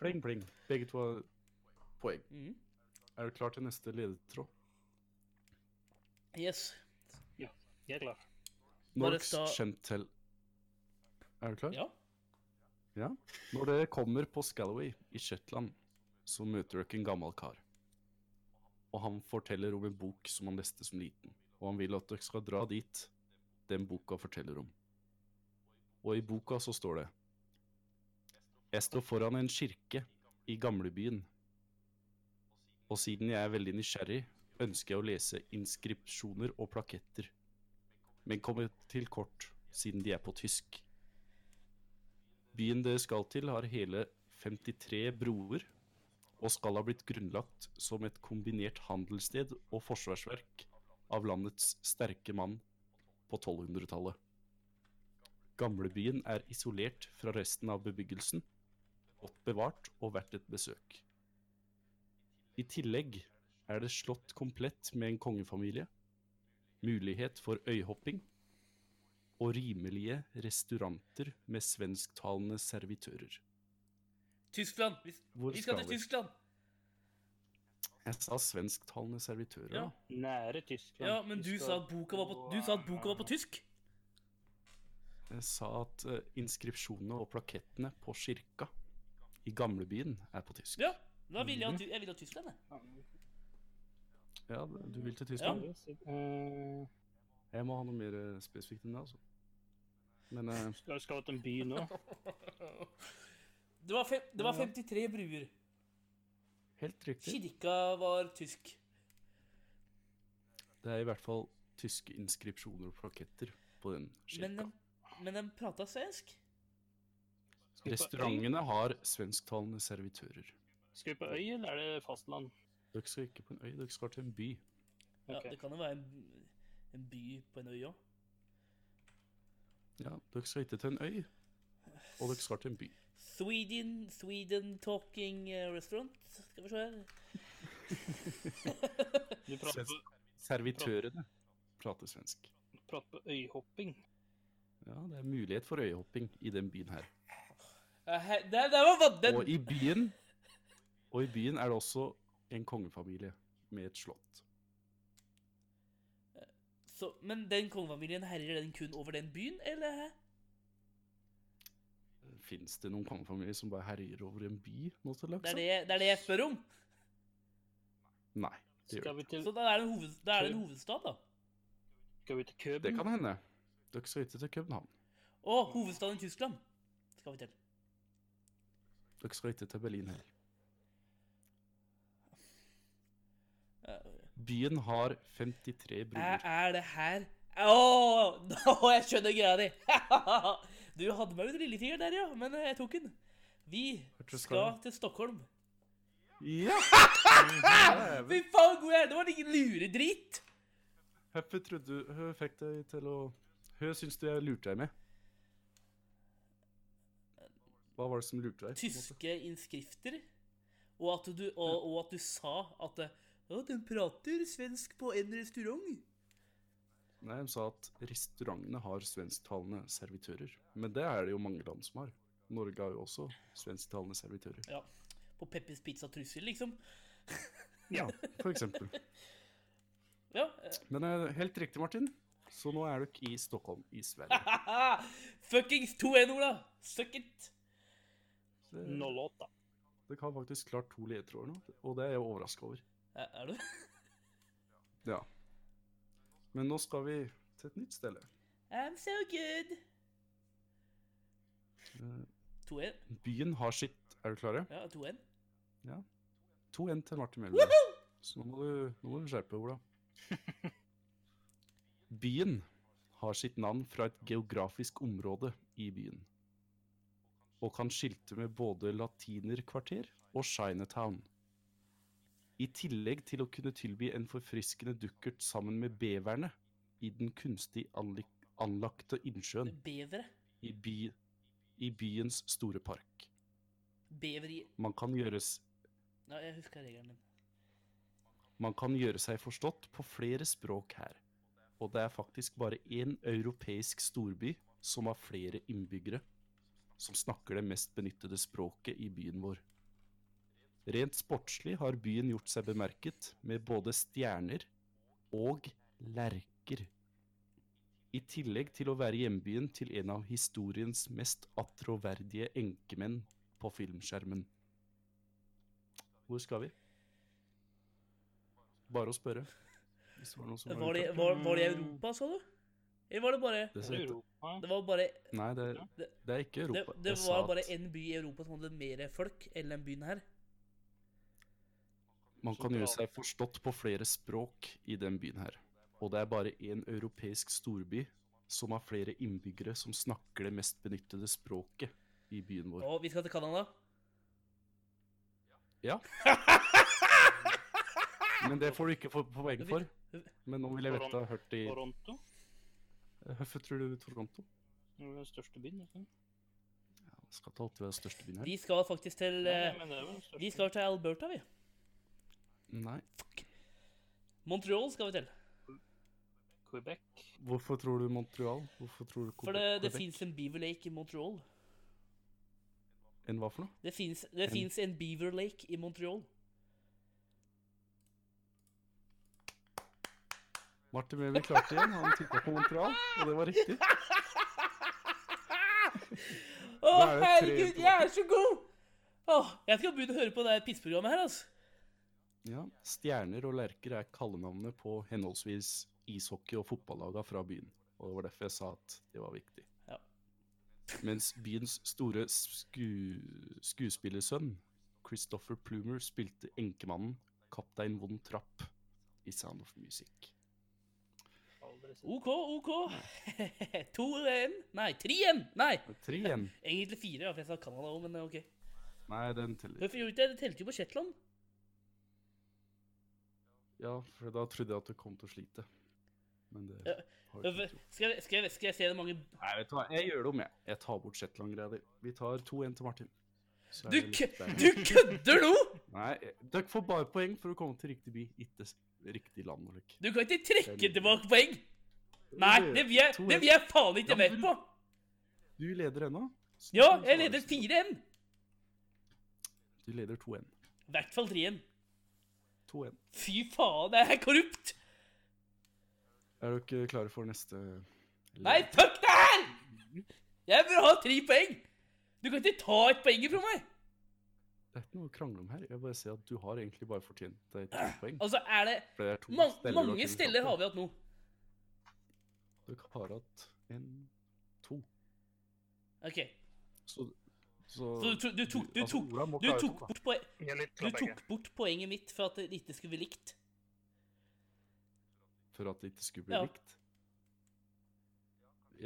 [SPEAKER 1] Pling, pling. Begge to har poeng.
[SPEAKER 2] Mhm.
[SPEAKER 1] Er du klar til neste ledetråd?
[SPEAKER 2] Yes.
[SPEAKER 4] Ja, jeg er klar.
[SPEAKER 2] Bare
[SPEAKER 1] Norges
[SPEAKER 2] ta-
[SPEAKER 1] kjent til Er du klar?
[SPEAKER 2] Ja.
[SPEAKER 1] Ja. Når dere kommer på Scalloway i Shetland, så møter dere en gammel kar. Og han forteller om en bok som han leste som liten, og han vil at dere skal dra dit den boka forteller om. Og i boka så står det Jeg står foran en kirke i gamlebyen, og siden jeg er veldig nysgjerrig, ønsker jeg å lese inskripsjoner og plaketter, men kommer til kort siden de er på tysk. Byen dere skal til, har hele 53 broer og skal ha blitt grunnlagt som et kombinert handelssted og forsvarsverk av landets sterke mann på 1200-tallet. Gamlebyen er isolert fra resten av bebyggelsen, godt bevart og verdt et besøk. I tillegg er det slått komplett med en kongefamilie, mulighet for øyhopping og rimelige restauranter med svensktalende servitører.
[SPEAKER 2] Tyskland. Vi,
[SPEAKER 1] Hvor
[SPEAKER 2] vi skal
[SPEAKER 1] skal
[SPEAKER 2] til
[SPEAKER 1] vi?
[SPEAKER 2] Tyskland.
[SPEAKER 1] Jeg sa svensktalende servitører,
[SPEAKER 2] Ja.
[SPEAKER 1] da.
[SPEAKER 4] Nære Tyskland.
[SPEAKER 2] Ja, men
[SPEAKER 4] Vi
[SPEAKER 2] du
[SPEAKER 4] skal
[SPEAKER 2] sa at boka var på, du sa at boka var på tysk.
[SPEAKER 1] Jeg sa at eh, inskripsjonene og plakettene på kirka i gamlebyen er på tysk.
[SPEAKER 2] Ja. Da vil
[SPEAKER 4] Mhm.
[SPEAKER 2] jeg, ha Ty- jeg vil ha Tyskland, jeg.
[SPEAKER 1] Ja, du vil til Tyskland?
[SPEAKER 4] Ja, så- Eh,
[SPEAKER 1] Jeg må ha noe mer eh, spesifikt enn det, altså. Men eh,
[SPEAKER 4] skal, skal vi til en by nå?
[SPEAKER 2] Det var, fem, det var 53 bruer.
[SPEAKER 1] helt riktig.
[SPEAKER 2] Kirka var tysk.
[SPEAKER 1] Det er i hvert fall tyske inskripsjoner og plaketter på den
[SPEAKER 2] Men
[SPEAKER 1] kirka.
[SPEAKER 2] de, men de prata svensk. eh,
[SPEAKER 4] Skal vi på øy?
[SPEAKER 1] Restaurantene har svensktalende servitører.
[SPEAKER 4] Skal vi på øy, eller er det fastland?
[SPEAKER 1] Dere skal ikke på en øy, dere skal til en by.
[SPEAKER 2] Ja,
[SPEAKER 4] Ok.
[SPEAKER 2] det kan jo være en, en by på en øy òg.
[SPEAKER 1] Ja, dere skal ikke til en øy, og dere skal til en by.
[SPEAKER 2] Sweden, Sweden Talking eh, Restaurant. Skal vi se her.
[SPEAKER 4] Du prater,
[SPEAKER 1] Svensk. Servitørene prater svensk.
[SPEAKER 4] prater på øyhopping.
[SPEAKER 1] Ja, det er mulighet for øyehopping i den byen her.
[SPEAKER 2] Eh, He- Der, der var va- den
[SPEAKER 1] Og i byen, og i byen er det også en kongefamilie med et slott.
[SPEAKER 2] så, Men den kongefamilien herjer den kun over den byen, eller? hæ?
[SPEAKER 1] Fins det noen kongefamilier som bare herjer over en by nå til dags?
[SPEAKER 2] Det er det, det er det jeg spør om.
[SPEAKER 1] Nei. Det,
[SPEAKER 4] Skal
[SPEAKER 1] gjør det.
[SPEAKER 4] vi til,
[SPEAKER 2] Så da er det en, hoved, da er det en hovedstad, da.
[SPEAKER 4] skal vi til
[SPEAKER 1] det
[SPEAKER 4] Køben?
[SPEAKER 1] kan hende. Dere skal ikke til København.
[SPEAKER 2] Å, hovedstaden i Tyskland skal vi til.
[SPEAKER 1] Dere skal ikke til Berlin heller. Byen har 53
[SPEAKER 2] Er,
[SPEAKER 1] broer.
[SPEAKER 2] er det her Åh, nå jeg skjønner greia di! Du hadde meg med lillefinger der, ja, men eh, jeg tok den. Vi
[SPEAKER 1] Hørte du
[SPEAKER 2] skal
[SPEAKER 1] skal?
[SPEAKER 2] til Stockholm.
[SPEAKER 1] Ja!
[SPEAKER 2] Fy faen, god jeg er! Det var ingen luredritt!
[SPEAKER 1] Hvorfor trodde du Hun fikk deg til å Hun syns du jeg lurte deg med. Hva var det som lurte deg? på en måte?
[SPEAKER 2] Tyske innskrifter. Og at du, og, og at du sa at eh, Ja, den prater svensk på en restaurant.
[SPEAKER 1] Nei, De sa at restaurantene har svensktalende servitører. Men det er det jo mange land som har. Norge har jo også svensktalende servitører.
[SPEAKER 2] Ja. På Peppers Pizza Trussel, liksom.
[SPEAKER 1] Ja, for eksempel.
[SPEAKER 2] Ja. eh,
[SPEAKER 1] Men eh, helt riktig, Martin. Så nå er dere i Stockholm i Sverige.
[SPEAKER 2] haha. Fuckings 2-1, Ola! Suck it!
[SPEAKER 1] Det-
[SPEAKER 4] 08.
[SPEAKER 1] Dere har faktisk klart to ledetråder nå, og det er jeg overraska over.
[SPEAKER 2] Eh, Er du
[SPEAKER 1] Ja. Men nå skal vi til et nytt sted.
[SPEAKER 2] I'm so good.
[SPEAKER 1] Mm.
[SPEAKER 2] 2-1.
[SPEAKER 1] Byen har sitt Er du klare?
[SPEAKER 2] Ja, 2-1.
[SPEAKER 1] 2-1 til Martin Melby.
[SPEAKER 2] Woohoo!
[SPEAKER 1] Så nå må du, nå må du skjerpe, Ola. Byen har sitt navn fra et geografisk område i byen. Og kan skilte med både latinerkvarter og Chinatown. I tillegg til å kunne tilby en forfriskende dukkert sammen med beverne i den kunstig anlik- anlagte innsjøen
[SPEAKER 2] Bevere.
[SPEAKER 1] i, by, i byens store park.
[SPEAKER 2] Bever i
[SPEAKER 1] Man kan gjøres
[SPEAKER 2] Ja, jeg husker regelen din.
[SPEAKER 1] Man kan gjøre seg forstått på flere språk her, og det er faktisk bare én europeisk storby som har flere innbyggere, som snakker det mest benyttede språket i byen vår. Rent sportslig har byen gjort seg bemerket med både stjerner og lerker. I tillegg til å være hjembyen til en av historiens mest attråverdige enkemenn på filmskjermen. Hvor skal vi? Bare å spørre. Hvis det Mm. var noe som var
[SPEAKER 2] Var det,
[SPEAKER 1] uklart.
[SPEAKER 2] var, var det i Europa, sa du? Eller var det bare
[SPEAKER 1] Det ser ut-
[SPEAKER 4] Europa.
[SPEAKER 2] Det var bare
[SPEAKER 1] Nei, det,
[SPEAKER 2] Det-
[SPEAKER 1] det er ikke
[SPEAKER 2] det,
[SPEAKER 1] Europa.
[SPEAKER 2] det
[SPEAKER 1] Jeg sa
[SPEAKER 2] var bare
[SPEAKER 1] at
[SPEAKER 2] én by i Europa som hadde mer folk enn den byen her.
[SPEAKER 1] Man kan gjøre seg forstått på flere språk i den byen her. Og det er bare én europeisk storby som har flere innbyggere som snakker det mest benyttede språket i byen vår.
[SPEAKER 2] Og vi skal til Canada.
[SPEAKER 1] Ja. Men det får du ikke få på poeng for. Men nå vil jeg vite har hørt i
[SPEAKER 4] Toronto.
[SPEAKER 1] Hvorfor tror du Toronto?
[SPEAKER 4] Det er jo den største byen. ikke sant?
[SPEAKER 1] Ja, det skal ikke alltid være den største byen her.
[SPEAKER 2] Vi skal faktisk til
[SPEAKER 4] Nei,
[SPEAKER 2] eh,
[SPEAKER 4] men det er jo den største.
[SPEAKER 2] Vi skal til Alberta, vi.
[SPEAKER 1] Nei.
[SPEAKER 2] Montreal skal vi til.
[SPEAKER 4] Quebec.
[SPEAKER 1] Hvorfor tror du Montreal? Hvorfor tror du
[SPEAKER 2] For det, det
[SPEAKER 1] Quebec?
[SPEAKER 2] fins en Beaver Lake i Montreal.
[SPEAKER 1] Enn hva for noe?
[SPEAKER 2] Det fins det
[SPEAKER 1] En-
[SPEAKER 2] finnes en Beaver Lake i Montreal.
[SPEAKER 1] Martin Melby klarte igjen. Han tippa på Montreal, og det var riktig.
[SPEAKER 2] Å,
[SPEAKER 1] Da er det tre
[SPEAKER 2] herregud,
[SPEAKER 1] på
[SPEAKER 2] jeg er så god! Åh, jeg skal begynne å høre på det her pissprogrammet her, altså.
[SPEAKER 1] Ja, Stjerner og lerker er kallenavnet på henholdsvis ishockey- og fotballaga fra byen. Og det var derfor jeg sa at det var viktig.
[SPEAKER 2] Ja.
[SPEAKER 1] Mens byens store sku skuespillersønn, Christopher Plumer, spilte enkemannen Kaptein Von Trapp i Sound of Music.
[SPEAKER 4] Aldri sett.
[SPEAKER 2] OK, OK. to igjen. Nei, tre igjen! Nei,
[SPEAKER 1] Tre igjen.
[SPEAKER 2] egentlig fire, ja, for jeg sa Canada òg, men eh, OK.
[SPEAKER 1] Nei, den teller.
[SPEAKER 2] Hvorfor gjorde ikke jeg det? Det telte jo på Shetland.
[SPEAKER 1] Ja, for da trodde jeg at du kom til å slite. Men det
[SPEAKER 2] Ja,
[SPEAKER 1] har du ikke
[SPEAKER 2] Hvorfor-
[SPEAKER 1] gjort.
[SPEAKER 2] Skal jeg, skal jeg, skal jeg se det mange
[SPEAKER 1] Nei, vet du hva, jeg gjør det om, jeg. Jeg tar bort Shetland-greia di. Vi tar 2-1 til Martin. så er
[SPEAKER 2] Du,
[SPEAKER 1] det
[SPEAKER 2] kø
[SPEAKER 1] litt verre.
[SPEAKER 2] du kødder nå?!
[SPEAKER 1] Nei, dere får bare poeng for å komme til riktig by, ikke s- riktig land. og slik.
[SPEAKER 2] Du kan ikke trekke tilbake poeng! Nei, det vil jeg, det vil jeg faen ikke med på!
[SPEAKER 1] Du leder ennå. Så
[SPEAKER 2] Ja,
[SPEAKER 1] du
[SPEAKER 2] jeg
[SPEAKER 1] svarer
[SPEAKER 2] leder
[SPEAKER 1] så-
[SPEAKER 2] 4-1.
[SPEAKER 1] Du leder 2-1.
[SPEAKER 2] I hvert fall 3-1.
[SPEAKER 1] 2-1.
[SPEAKER 2] Fy faen, det er korrupt!
[SPEAKER 1] Er dere klare for neste
[SPEAKER 2] Nei, fuck det her! Jeg vil ha tre poeng! Du kan ikke ta et poeng fra meg!
[SPEAKER 1] Det er ikke noe å krangle om her. Jeg bare ser at du har egentlig bare fortjent deg to poeng.
[SPEAKER 2] Altså, er det
[SPEAKER 1] For det er to
[SPEAKER 2] man,
[SPEAKER 1] steller dere
[SPEAKER 2] Mange
[SPEAKER 1] kunne
[SPEAKER 2] steller
[SPEAKER 1] tatt
[SPEAKER 2] har vi hatt nå.
[SPEAKER 1] på. Dere har hatt en, to.
[SPEAKER 2] OK.
[SPEAKER 1] Så, så,
[SPEAKER 2] Så du, du, tok, du,
[SPEAKER 1] altså,
[SPEAKER 2] tok,
[SPEAKER 1] Ola må
[SPEAKER 2] du,
[SPEAKER 1] klare
[SPEAKER 2] tok
[SPEAKER 1] to, da.
[SPEAKER 2] bort poeng,
[SPEAKER 4] Jeg er litt
[SPEAKER 2] du
[SPEAKER 4] glad begge.
[SPEAKER 2] tok bort poenget mitt for at det ikke skulle bli likt.
[SPEAKER 1] For at det ikke skulle bli
[SPEAKER 2] Ja.
[SPEAKER 1] likt.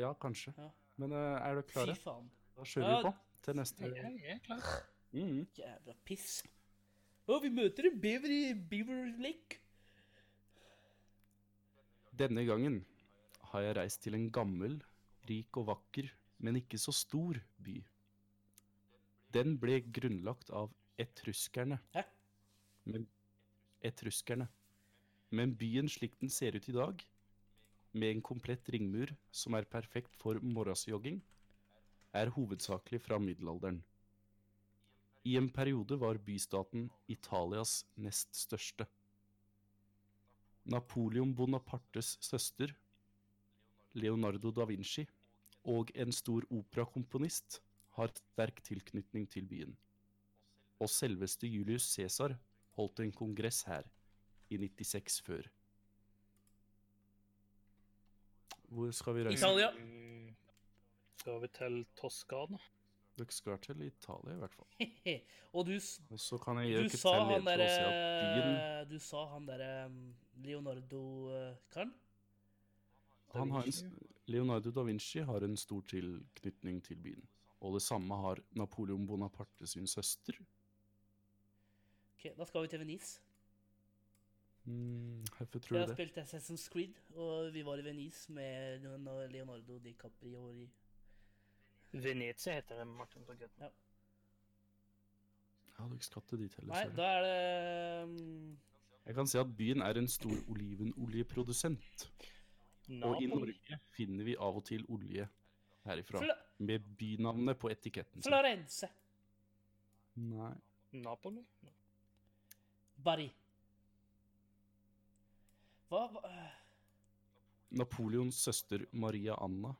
[SPEAKER 1] Ja, kanskje.
[SPEAKER 2] Ja.
[SPEAKER 1] Men eh, er dere
[SPEAKER 2] Fy
[SPEAKER 1] klare?
[SPEAKER 2] faen.
[SPEAKER 1] Da kjører vi
[SPEAKER 2] Ja.
[SPEAKER 1] på til neste.
[SPEAKER 4] Jeg jeg er klar.
[SPEAKER 1] Mhm.
[SPEAKER 2] Jævla piss. Å, vi møter en bever i Beaver Lake.
[SPEAKER 1] Denne gangen har jeg reist til en gammel, rik og vakker, men ikke så stor by. Den ble grunnlagt av etruskerne.
[SPEAKER 2] Hæ?
[SPEAKER 1] Men, etruskerne. Men byen slik den ser ut i dag, med en komplett ringmur som er perfekt for morgensjogging, er hovedsakelig fra middelalderen. I en periode var bystaten Italias nest største. Napoleon Bonapartes søster, Leonardo da Vinci, og en stor operakomponist har sterk tilknytning til byen. Og selveste Julius Cæsar holdt en kongress her i 96 før. Hvor skal vi reise?
[SPEAKER 2] Italia.
[SPEAKER 4] Mm. Skal vi til Toskana?
[SPEAKER 1] Dere skal til Italia, i hvert fall.
[SPEAKER 2] Og du, s-
[SPEAKER 1] Og så kan jeg
[SPEAKER 2] du
[SPEAKER 1] gjøre ikke
[SPEAKER 2] sa
[SPEAKER 1] til
[SPEAKER 2] han
[SPEAKER 1] ledelse og si at byen
[SPEAKER 2] derre eh, Du sa han derre eh, um, Leonardo-karen?
[SPEAKER 1] Han har en, s- Leonardo da Vinci har en stor tilknytning til byen. Og det samme har Napoleon Bonaparte sin søster.
[SPEAKER 2] Ok, da skal vi til Venice.
[SPEAKER 1] Mm, Hvorfor tror
[SPEAKER 2] Jeg
[SPEAKER 1] du
[SPEAKER 2] har
[SPEAKER 1] det?
[SPEAKER 2] spilt Assassin's Creed, og vi var i Venice med Leon- Leonardo DiCaprio. i-
[SPEAKER 4] Venezia heter det, Martin på gutten.
[SPEAKER 1] Jeg hadde ikke skattet dit heller.
[SPEAKER 2] Nei,
[SPEAKER 1] sorry.
[SPEAKER 2] da er det um,
[SPEAKER 1] Jeg kan si at byen er en stor olivenoljeprodusent. Og i
[SPEAKER 4] Napoli.
[SPEAKER 1] Norge finner vi av og til olje herifra.
[SPEAKER 2] Fla
[SPEAKER 1] Med bynavnet på etiketten. sin.
[SPEAKER 2] Florence.
[SPEAKER 1] Nei.
[SPEAKER 4] Napoli?
[SPEAKER 2] Bari. Hva, hva øh,
[SPEAKER 1] Napoleons søster Maria Anna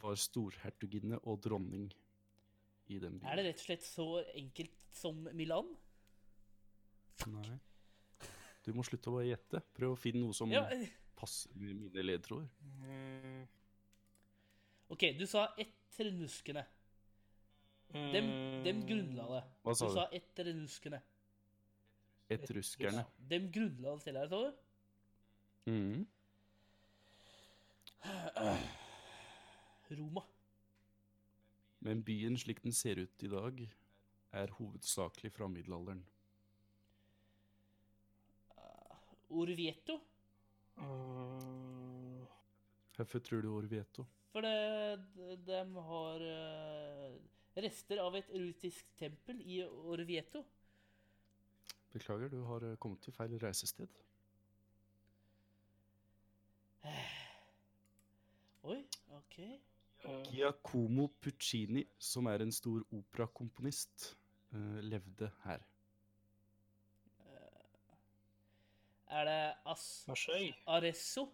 [SPEAKER 1] var storhertuginne og dronning i den byen.
[SPEAKER 2] Er det rett og slett så enkelt som Milan?
[SPEAKER 1] Nei. Du må slutte å bare gjette. Prøv å finne noe som
[SPEAKER 2] Ja, øh,
[SPEAKER 1] passer med mine ledetråder.
[SPEAKER 4] Mm.
[SPEAKER 2] OK, du sa etter nuskene. Dem, dem grunnla det.
[SPEAKER 1] Mm. Hva
[SPEAKER 2] Du
[SPEAKER 1] sa du?
[SPEAKER 2] sa etter nuskene.
[SPEAKER 1] Etruskerne.
[SPEAKER 2] Dem grunnla det selv her, sa du?
[SPEAKER 1] Mhm.
[SPEAKER 2] Roma.
[SPEAKER 1] Men byen slik den ser ut i dag, er hovedsakelig fra middelalderen.
[SPEAKER 2] Orvieto.
[SPEAKER 4] Eh, Mm.
[SPEAKER 1] Hvorfor tror du Orvieto?
[SPEAKER 2] For det, de har øh, rester av et rutisk tempel i Orvieto.
[SPEAKER 1] Beklager, du har eh, kommet til feil reisested.
[SPEAKER 2] Oi, OK.
[SPEAKER 4] Eh,
[SPEAKER 1] Giacomo Puccini, som er en stor operakomponist, eh, levde her.
[SPEAKER 2] Er det As
[SPEAKER 4] Marseille?
[SPEAKER 2] Aresso?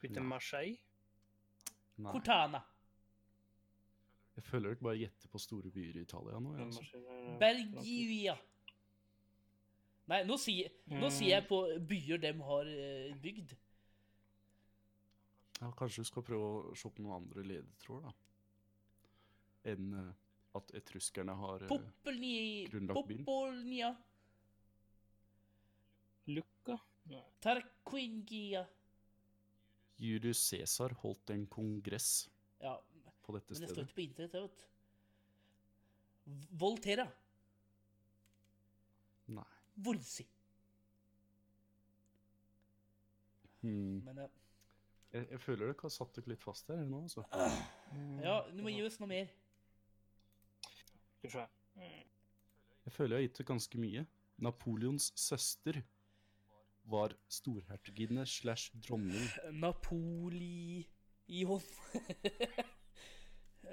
[SPEAKER 4] Bytte Marseille?
[SPEAKER 1] Nei.
[SPEAKER 2] Cortana.
[SPEAKER 1] Jeg føler dere bare gjetter på store byer i Italia nå.
[SPEAKER 4] Ja,
[SPEAKER 1] Jeg, altså.
[SPEAKER 4] Marseille eh, er-
[SPEAKER 2] Bergia. Nei, nå sier,
[SPEAKER 1] Mm.
[SPEAKER 2] nå sier jeg på byer dem har eh, bygd.
[SPEAKER 1] ja, kanskje du skal prøve å se på noen andre ledetråder, da. Enn eh, at etruskerne har eh,
[SPEAKER 2] Popolni...
[SPEAKER 1] grunnlagt byen.
[SPEAKER 2] Popolnia.
[SPEAKER 4] Lucca?
[SPEAKER 2] Tarquingia.
[SPEAKER 1] Julius Cæsar holdt en kongress
[SPEAKER 2] Ja,
[SPEAKER 1] på dette
[SPEAKER 2] men det står
[SPEAKER 1] stedet.
[SPEAKER 2] ikke på internett, jeg vet. V- Volterra.
[SPEAKER 1] Nei.
[SPEAKER 2] Volsi.
[SPEAKER 1] Hmm.
[SPEAKER 2] Men ja.
[SPEAKER 1] Jeg, jeg føler dere har satt dere litt fast her nå, altså.
[SPEAKER 2] ja, du må gi oss noe mer.
[SPEAKER 4] Skal vi se.
[SPEAKER 1] Jeg føler jeg har gitt det ganske mye. Napoleons søster var storhertuginne slash dronning.
[SPEAKER 2] Napoli i hånd.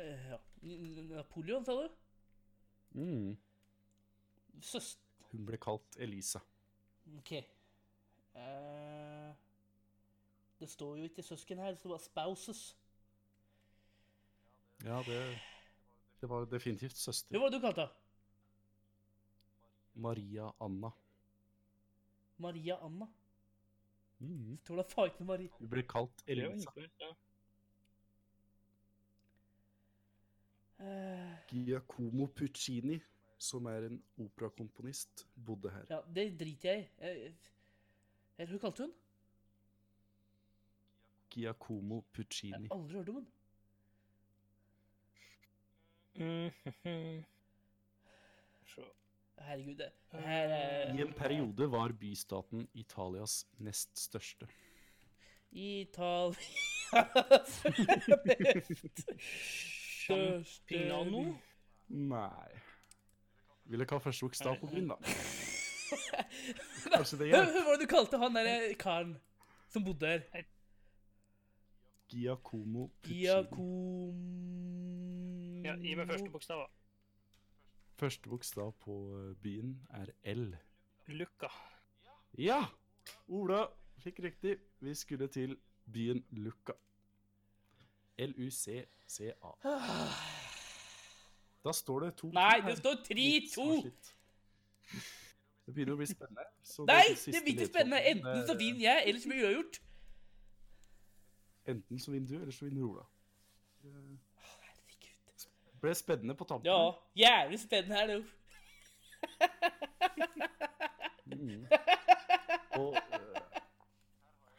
[SPEAKER 2] Eh, ja. N- N- Napoleon, sa du?
[SPEAKER 1] Mm.
[SPEAKER 2] Søster
[SPEAKER 1] Hun ble kalt Elisa.
[SPEAKER 2] OK. Eh, det står jo ikke søsken her, det står bare spouses.
[SPEAKER 1] Ja, det, det var definitivt
[SPEAKER 2] Hva
[SPEAKER 1] søster.
[SPEAKER 2] var det du kalte henne?
[SPEAKER 1] Maria Anna.
[SPEAKER 2] Maria Anna?
[SPEAKER 1] Mm.
[SPEAKER 2] Jeg tror da faen ikke Maria
[SPEAKER 1] Hun ble kalt
[SPEAKER 4] Det er jo
[SPEAKER 1] Elisa.
[SPEAKER 4] enkelt, ja.
[SPEAKER 2] Eh,
[SPEAKER 1] Giacomo Puccini, som er en operakomponist, bodde her.
[SPEAKER 2] Ja, det driter jeg i. Jeg- jeg- Hva kalte hun?
[SPEAKER 1] Giacomo
[SPEAKER 2] Jeg
[SPEAKER 1] Puccini.
[SPEAKER 2] har aldri hørt om henne.
[SPEAKER 4] Mhm. Så.
[SPEAKER 2] Herregud, det her er
[SPEAKER 1] I en periode var bystaten Italias nest største.
[SPEAKER 2] Italia Største
[SPEAKER 4] Pignano?
[SPEAKER 1] Nei Ville ikke ha første bokstav på grunn, da. Kanskje det
[SPEAKER 2] Hva
[SPEAKER 1] gjør.
[SPEAKER 2] hva var det du kalte han derre karen som bodde her?
[SPEAKER 1] Giacomo Puccini.
[SPEAKER 2] Giacomo
[SPEAKER 4] Ja, gi meg første bokstav, da.
[SPEAKER 1] Første bokstav på eh, byen er L.
[SPEAKER 4] Luca.
[SPEAKER 1] Ja! Ola fikk riktig. Vi skulle til byen Lucca. L-U-C-C-A. Da står det to
[SPEAKER 2] Nei,
[SPEAKER 1] to her.
[SPEAKER 2] det står
[SPEAKER 1] Litt
[SPEAKER 2] 3-2!
[SPEAKER 1] svart-hvitt. Det begynner å bli spennende. så
[SPEAKER 2] Nei,
[SPEAKER 1] er
[SPEAKER 2] det
[SPEAKER 1] siste
[SPEAKER 2] blir ikke
[SPEAKER 1] ledtråden.
[SPEAKER 2] spennende. Enten
[SPEAKER 1] Det
[SPEAKER 2] så
[SPEAKER 1] er-
[SPEAKER 2] vinner jeg, eller så blir det uavgjort.
[SPEAKER 1] Enten så vinner du, eller så vinner Ola.
[SPEAKER 2] Herregud.
[SPEAKER 1] Ble spennende på tampen.
[SPEAKER 2] Ja, jævlig spennende her, det.
[SPEAKER 1] Mm. Og eh,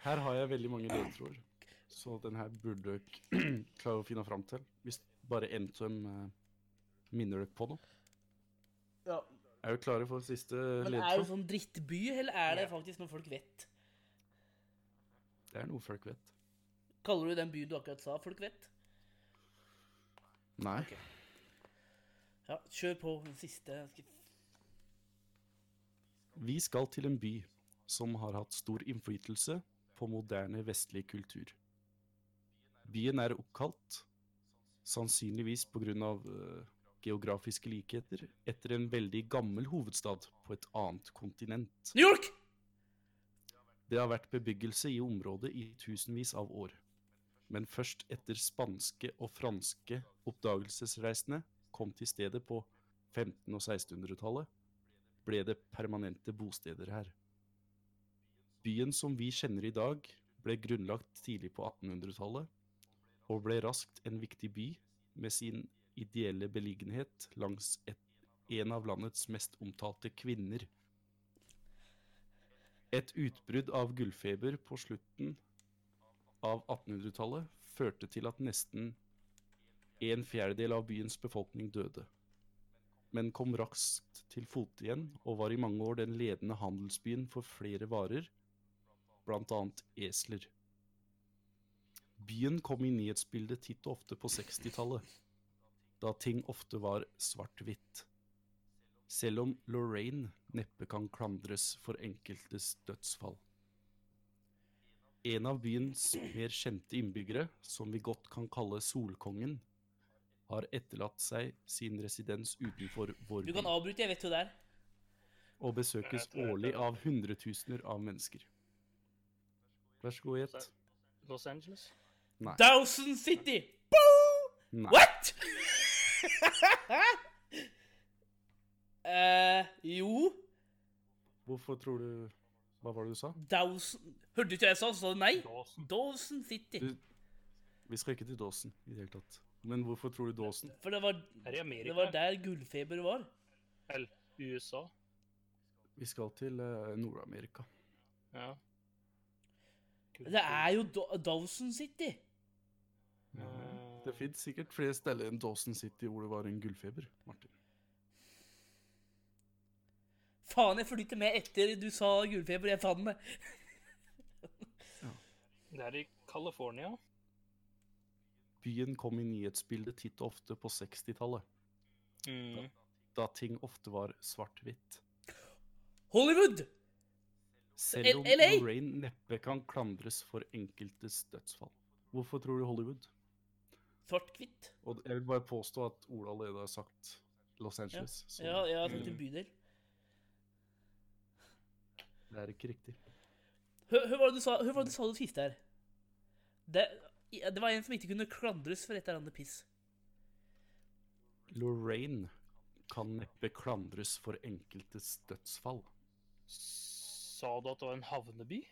[SPEAKER 1] her har jeg veldig mange ledtråder, så den her burde dere klare å finne fram til. Hvis bare en av dem eh, minner dere på noe.
[SPEAKER 2] Ja,
[SPEAKER 1] Er dere klare for siste
[SPEAKER 2] men er det
[SPEAKER 1] ledtråd?
[SPEAKER 2] sånn drittby, eller er det
[SPEAKER 4] Ja.
[SPEAKER 2] faktisk noe folk vet? sånn-
[SPEAKER 1] Det er noe folk vet.
[SPEAKER 2] Kaller du den byen du akkurat sa, folk vet?
[SPEAKER 1] Nei.
[SPEAKER 2] Ja, kjør på den siste. Jeg skal-
[SPEAKER 1] Vi skal til en by som har hatt stor innflytelse på moderne vestlig kultur. Byen er oppkalt, sannsynligvis pga. Uh, geografiske likheter, etter en veldig gammel hovedstad på et annet kontinent.
[SPEAKER 2] New York!
[SPEAKER 1] Det har vært bebyggelse i området i tusenvis av år. Men først etter spanske og franske oppdagelsesreisende kom til stedet på 1500- og 1600-tallet, ble det permanente bosteder her. Byen som vi kjenner i dag, ble grunnlagt tidlig på 1800-tallet, og ble raskt en viktig by med sin ideelle beliggenhet langs et, en av landets mest omtalte kvinner, et utbrudd av gullfeber på slutten av 1800-tallet førte til at nesten en fjerdedel av byens befolkning døde, men kom raskt til fote igjen og var i mange år den ledende handelsbyen for flere varer, bl.a. esler. Byen kom i nyhetsbildet titt og ofte på 60-tallet, da ting ofte var svart-hvitt selv om Lorraine neppe kan klandres for enkeltes dødsfall. En av byens mer kjente innbyggere, som vi godt kan kalle Solkongen, har etterlatt seg sin residens utenfor vår
[SPEAKER 2] Du kan
[SPEAKER 1] by,
[SPEAKER 2] avbryte, jeg vet jo det er.
[SPEAKER 1] og besøkes årlig av hundretusener av mennesker. Vær så god, gjett.
[SPEAKER 4] Los Angeles.
[SPEAKER 2] Dowson City! Boom!
[SPEAKER 1] Nei.
[SPEAKER 2] What?! eh, jo
[SPEAKER 1] Hvorfor tror du Hva var det du sa?
[SPEAKER 2] Dowson Hørte du ikke hva jeg sa? Så sa du nei?
[SPEAKER 4] Dawson.
[SPEAKER 2] Dawson City.
[SPEAKER 1] Du- Vi skal ikke til Dåsen i det hele tatt. Men hvorfor tror du Dåsen?
[SPEAKER 2] For det var,
[SPEAKER 4] Er det i Amerika?
[SPEAKER 2] det var der gullfeber var.
[SPEAKER 4] Eller USA?
[SPEAKER 1] Vi skal til eh, Nord-Amerika.
[SPEAKER 4] Ja.
[SPEAKER 2] Det er jo Do Dawson City.
[SPEAKER 1] Det fins sikkert flere steder enn Dawson City hvor det var en gullfeber. Martin.
[SPEAKER 2] Faen, jeg fulgte med etter du sa gullfeber. Jeg sa den med.
[SPEAKER 4] Det er i California.
[SPEAKER 1] Byen kom i nyhetsbildet titt og ofte på 60-tallet,
[SPEAKER 4] Mm.
[SPEAKER 1] da ting ofte var svart-hvitt.
[SPEAKER 2] Hollywood!
[SPEAKER 1] Selv om
[SPEAKER 2] LA?
[SPEAKER 1] Lorraine neppe kan klandres for enkeltes dødsfall. Hvorfor tror du Hollywood?
[SPEAKER 2] Svart-hvitt.
[SPEAKER 1] Og jeg vil bare påstå at Ola allerede har sagt Los Angeles. så
[SPEAKER 2] Ja, jeg har tenkt en bydel.
[SPEAKER 1] det er ikke riktig.
[SPEAKER 2] Hør, hør hva du sa, hør hva du sa du siste her. Det, ja, det var en som ikke kunne klandres for et eller annet piss.
[SPEAKER 1] Lorraine kan neppe klandres for enkeltes dødsfall.
[SPEAKER 4] Sa du at det var en havneby?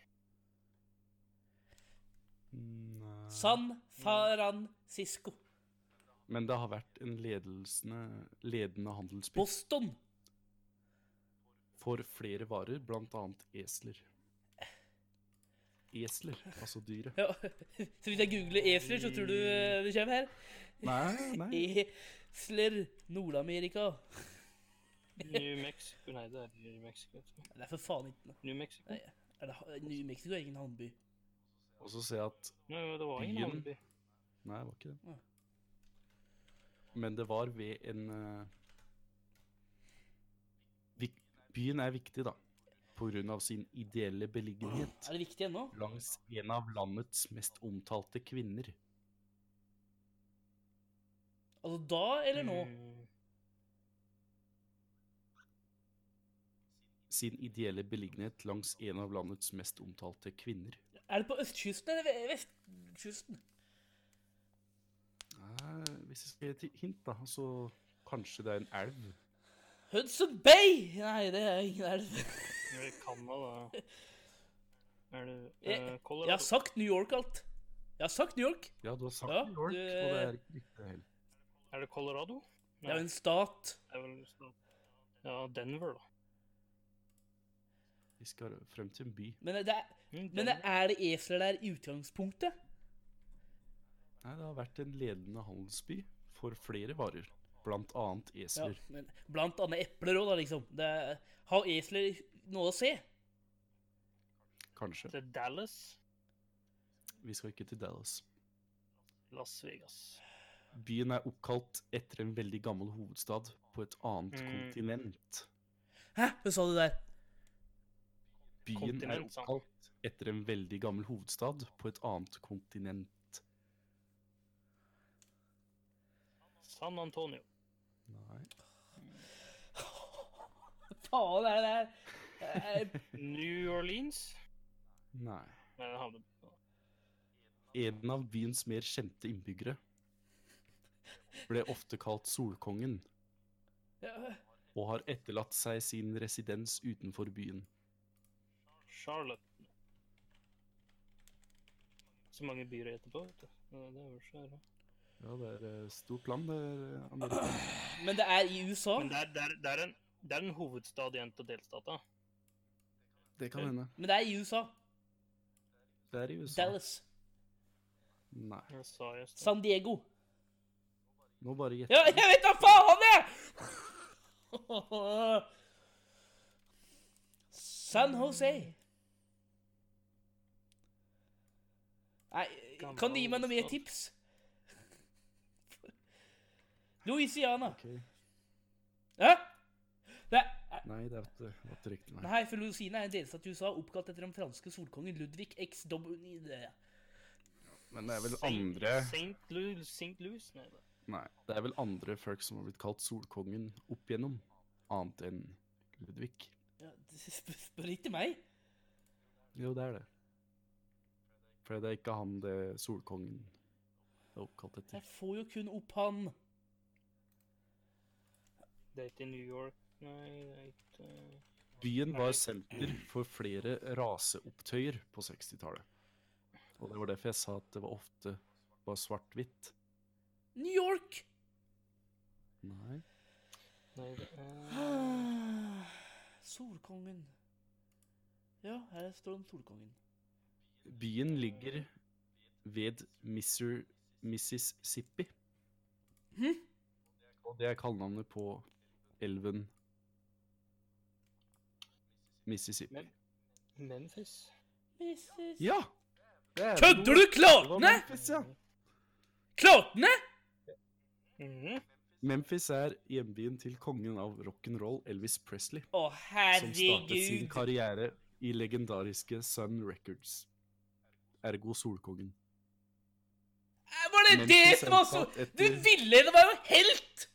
[SPEAKER 2] San Francisco.
[SPEAKER 1] Men det har vært en ledelsene, ledende handelsby
[SPEAKER 2] Boston.
[SPEAKER 1] for flere varer, bl.a. esler. Esler, altså dyret.
[SPEAKER 2] Ja. Så hvis jeg googler esler, så tror du eh, det kommer her?
[SPEAKER 1] Nei, nei.
[SPEAKER 2] Esler Nord-Amerika.
[SPEAKER 4] New Mexico Nei, det er New Mexico. vet du.
[SPEAKER 2] Det er for faen ikke noe.
[SPEAKER 4] New Mexico?
[SPEAKER 2] Nei, Er det New Mexico er ingen havneby.
[SPEAKER 1] Og så ser jeg at
[SPEAKER 4] Nei, det var ingen
[SPEAKER 1] Byen?
[SPEAKER 4] havneby.
[SPEAKER 1] Nei, det var ikke det.
[SPEAKER 2] Nei.
[SPEAKER 1] Men det var ved en eh, vik- Byen er viktig, da. På grunn av sin ideelle beliggenhet
[SPEAKER 2] Er det viktig ennå?
[SPEAKER 1] langs en av landets mest omtalte kvinner.
[SPEAKER 2] Altså da eller nå?
[SPEAKER 4] Mm.
[SPEAKER 1] Sin ideelle beliggenhet langs en av landets mest omtalte kvinner.
[SPEAKER 2] Er det på østkysten eller ve- vestkysten?
[SPEAKER 1] Nei, Eh, hvis jeg skal gi et hint, da, så kanskje det er en elv.
[SPEAKER 2] Hudson Bay! Nei, det er ingen elv.
[SPEAKER 4] Det er Canada. Er det eh,
[SPEAKER 2] Jeg, jeg
[SPEAKER 4] Colorado?
[SPEAKER 2] har sagt New York alt. Jeg har sagt New York.
[SPEAKER 1] Ja, du har sagt
[SPEAKER 2] Ja,
[SPEAKER 1] New York, og det er
[SPEAKER 2] det-
[SPEAKER 1] ikke riktig heller.
[SPEAKER 4] Er det Colorado?
[SPEAKER 2] Det er jo en stat.
[SPEAKER 4] Det er vel sånn- Ja, Denver, da.
[SPEAKER 1] Vi skal frem til en by.
[SPEAKER 2] Men, det er,
[SPEAKER 4] Mm,
[SPEAKER 2] men det
[SPEAKER 4] Denver.
[SPEAKER 2] er det esler der i utgangspunktet?
[SPEAKER 1] Nei, det har vært en ledende handelsby for flere varer, blant annet
[SPEAKER 2] Ja,
[SPEAKER 1] esler.
[SPEAKER 2] men blant annet epler òg, da, liksom. Det er, har esler noe å se?
[SPEAKER 1] Kanskje.
[SPEAKER 4] Det er Dallas.
[SPEAKER 1] Vi skal ikke til Dallas.
[SPEAKER 4] Las Vegas.
[SPEAKER 1] Byen er oppkalt etter en veldig gammel hovedstad på et annet
[SPEAKER 4] Mm.
[SPEAKER 1] kontinent.
[SPEAKER 2] Hæ, hva sa du der?
[SPEAKER 1] Byen er
[SPEAKER 4] Kontinent, sa han.
[SPEAKER 1] oppkalt etter en veldig gammel hovedstad på et annet kontinent.
[SPEAKER 4] San Antonio.
[SPEAKER 1] Nei.
[SPEAKER 2] Faen, er det der? Eh,
[SPEAKER 4] New Orleans.
[SPEAKER 1] Nei.
[SPEAKER 4] Nei, det er havneby.
[SPEAKER 1] En av byens mer kjente innbyggere ble ofte kalt Solkongen
[SPEAKER 2] ja,
[SPEAKER 1] og har etterlatt seg sin residens utenfor byen.
[SPEAKER 4] Charlotte. Så mange byer jeg heter på, vet du. Det det er jo så her, da.
[SPEAKER 1] Ja, det er eh, stort land, det er eh, Amerika.
[SPEAKER 2] Men det er i USA?
[SPEAKER 4] Men det er, det er, det er, en, det er en hovedstad igjen til delstata.
[SPEAKER 1] Det kan hende.
[SPEAKER 2] Men det er i USA.
[SPEAKER 1] Det er i USA.
[SPEAKER 2] Dallas.
[SPEAKER 1] Nei.
[SPEAKER 4] Det sa jeg i stad.
[SPEAKER 2] San Diego.
[SPEAKER 1] Nå bare gjett.
[SPEAKER 2] Ja, jeg vet da faen, jeg! San Jose. Nei, kan du gi meg noe mer tips? Louisiana.
[SPEAKER 1] Ok.
[SPEAKER 2] Hæ? Det er
[SPEAKER 1] Nei, det var ikke- det var ikke riktig. Nei.
[SPEAKER 2] Nei, for Louisiana er en delstat i USA oppkalt etter den franske solkongen Ludvig X. W.
[SPEAKER 1] Men det er vel
[SPEAKER 4] Saint-
[SPEAKER 1] andre
[SPEAKER 4] Saint Louis, Saint Louis? Nei da.
[SPEAKER 1] Nei, det er vel andre folk som har blitt kalt Solkongen opp igjennom, annet enn Ludvig.
[SPEAKER 2] Ja, sp- Spør ikke meg.
[SPEAKER 1] Jo, det er det. For det er ikke han det Solkongen er oppkalt etter.
[SPEAKER 2] Jeg får jo kun opp han.
[SPEAKER 4] Det er ikke New York. Nei, det er ikke eh,
[SPEAKER 1] Byen var senter for flere raseopptøyer på 60-tallet. Og det var derfor jeg sa at det var ofte var svart-hvitt.
[SPEAKER 2] New York!
[SPEAKER 1] Nei.
[SPEAKER 4] Nei, det er
[SPEAKER 2] Ah, Solkongen. Ja, her står den Solkongen.
[SPEAKER 1] Byen ligger ved Missou- Mississippi.
[SPEAKER 2] Hm?
[SPEAKER 1] Og det er kallenavnet på elven Mississippi.
[SPEAKER 4] Men- Memphis.
[SPEAKER 2] Mrs.
[SPEAKER 1] Ja! det er
[SPEAKER 2] Kødder
[SPEAKER 1] noe.
[SPEAKER 2] du?
[SPEAKER 1] Det var
[SPEAKER 2] Klatne?
[SPEAKER 1] Memphis, ja.
[SPEAKER 2] Klatne?
[SPEAKER 4] Mhm.
[SPEAKER 1] Memphis er hjembyen til kongen av rock'n'roll Elvis Presley,
[SPEAKER 2] Å,
[SPEAKER 1] som startet sin
[SPEAKER 2] herregud!
[SPEAKER 1] karriere i legendariske Sun Records. Ergo Solkongen.
[SPEAKER 2] Var det det
[SPEAKER 1] Memphis
[SPEAKER 2] som var så
[SPEAKER 1] er oppkalt
[SPEAKER 2] Du
[SPEAKER 1] etter-
[SPEAKER 2] villeder meg jo helt!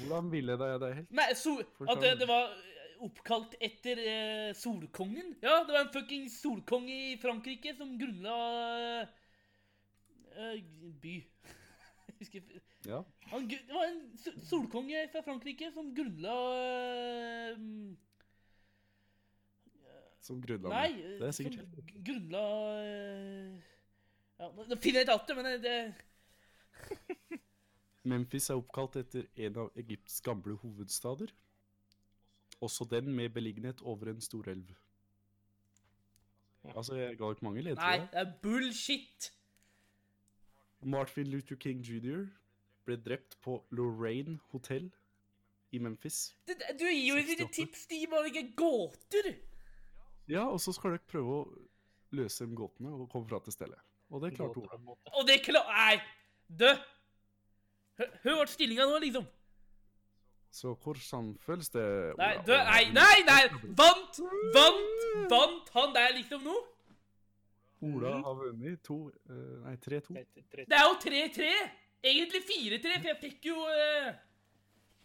[SPEAKER 1] Hvordan ville jeg deg helt?
[SPEAKER 2] Nei, so at det,
[SPEAKER 1] Forstår.
[SPEAKER 2] det var oppkalt etter eh, solkongen? Ja, det var en fucking solkonge i Frankrike som grunnla eh, eh, by. Jeg husker ikke.
[SPEAKER 1] Ja.
[SPEAKER 2] Han, gru- det var en so- solkonge fra Frankrike som grunnla eh, mm,
[SPEAKER 1] Som grunnlag.
[SPEAKER 2] Nei,
[SPEAKER 1] Det er sikkert.
[SPEAKER 2] som gr- grunnla eh, ja, nå- Nå finner jeg ikke alt det, men det, det
[SPEAKER 1] Memphis er oppkalt etter en av Egypts gamle hovedstader. Også den med beliggenhet over en stor elv. Altså, jeg ga ikke mange
[SPEAKER 2] Nei,
[SPEAKER 1] ledere.
[SPEAKER 2] det er bullshit!
[SPEAKER 1] Martin Luther King jr. ble drept på Lorraine Hotel i Memphis.
[SPEAKER 2] Det, det, du gir jo ikke
[SPEAKER 1] 68.
[SPEAKER 2] tips, de gir bare ikke gåter!
[SPEAKER 1] Ja, og så skal dere prøve å løse de gåtene og komme fra til stedet. Og det klarte hun.
[SPEAKER 2] Og det klar... Nei! Dø! Hø- Hør vårt stillinga nå, liksom.
[SPEAKER 1] Så hvordan føles det?
[SPEAKER 2] Nei,
[SPEAKER 1] Ola? Eh,
[SPEAKER 2] dø! Nei, nei! nei. Vant! Vant! Vant han der, liksom, nå?
[SPEAKER 1] Ola har vunnet to, eh, nei, 3-2.
[SPEAKER 2] Det er jo 3-3! Egentlig 4-3, for jeg fikk jo eh,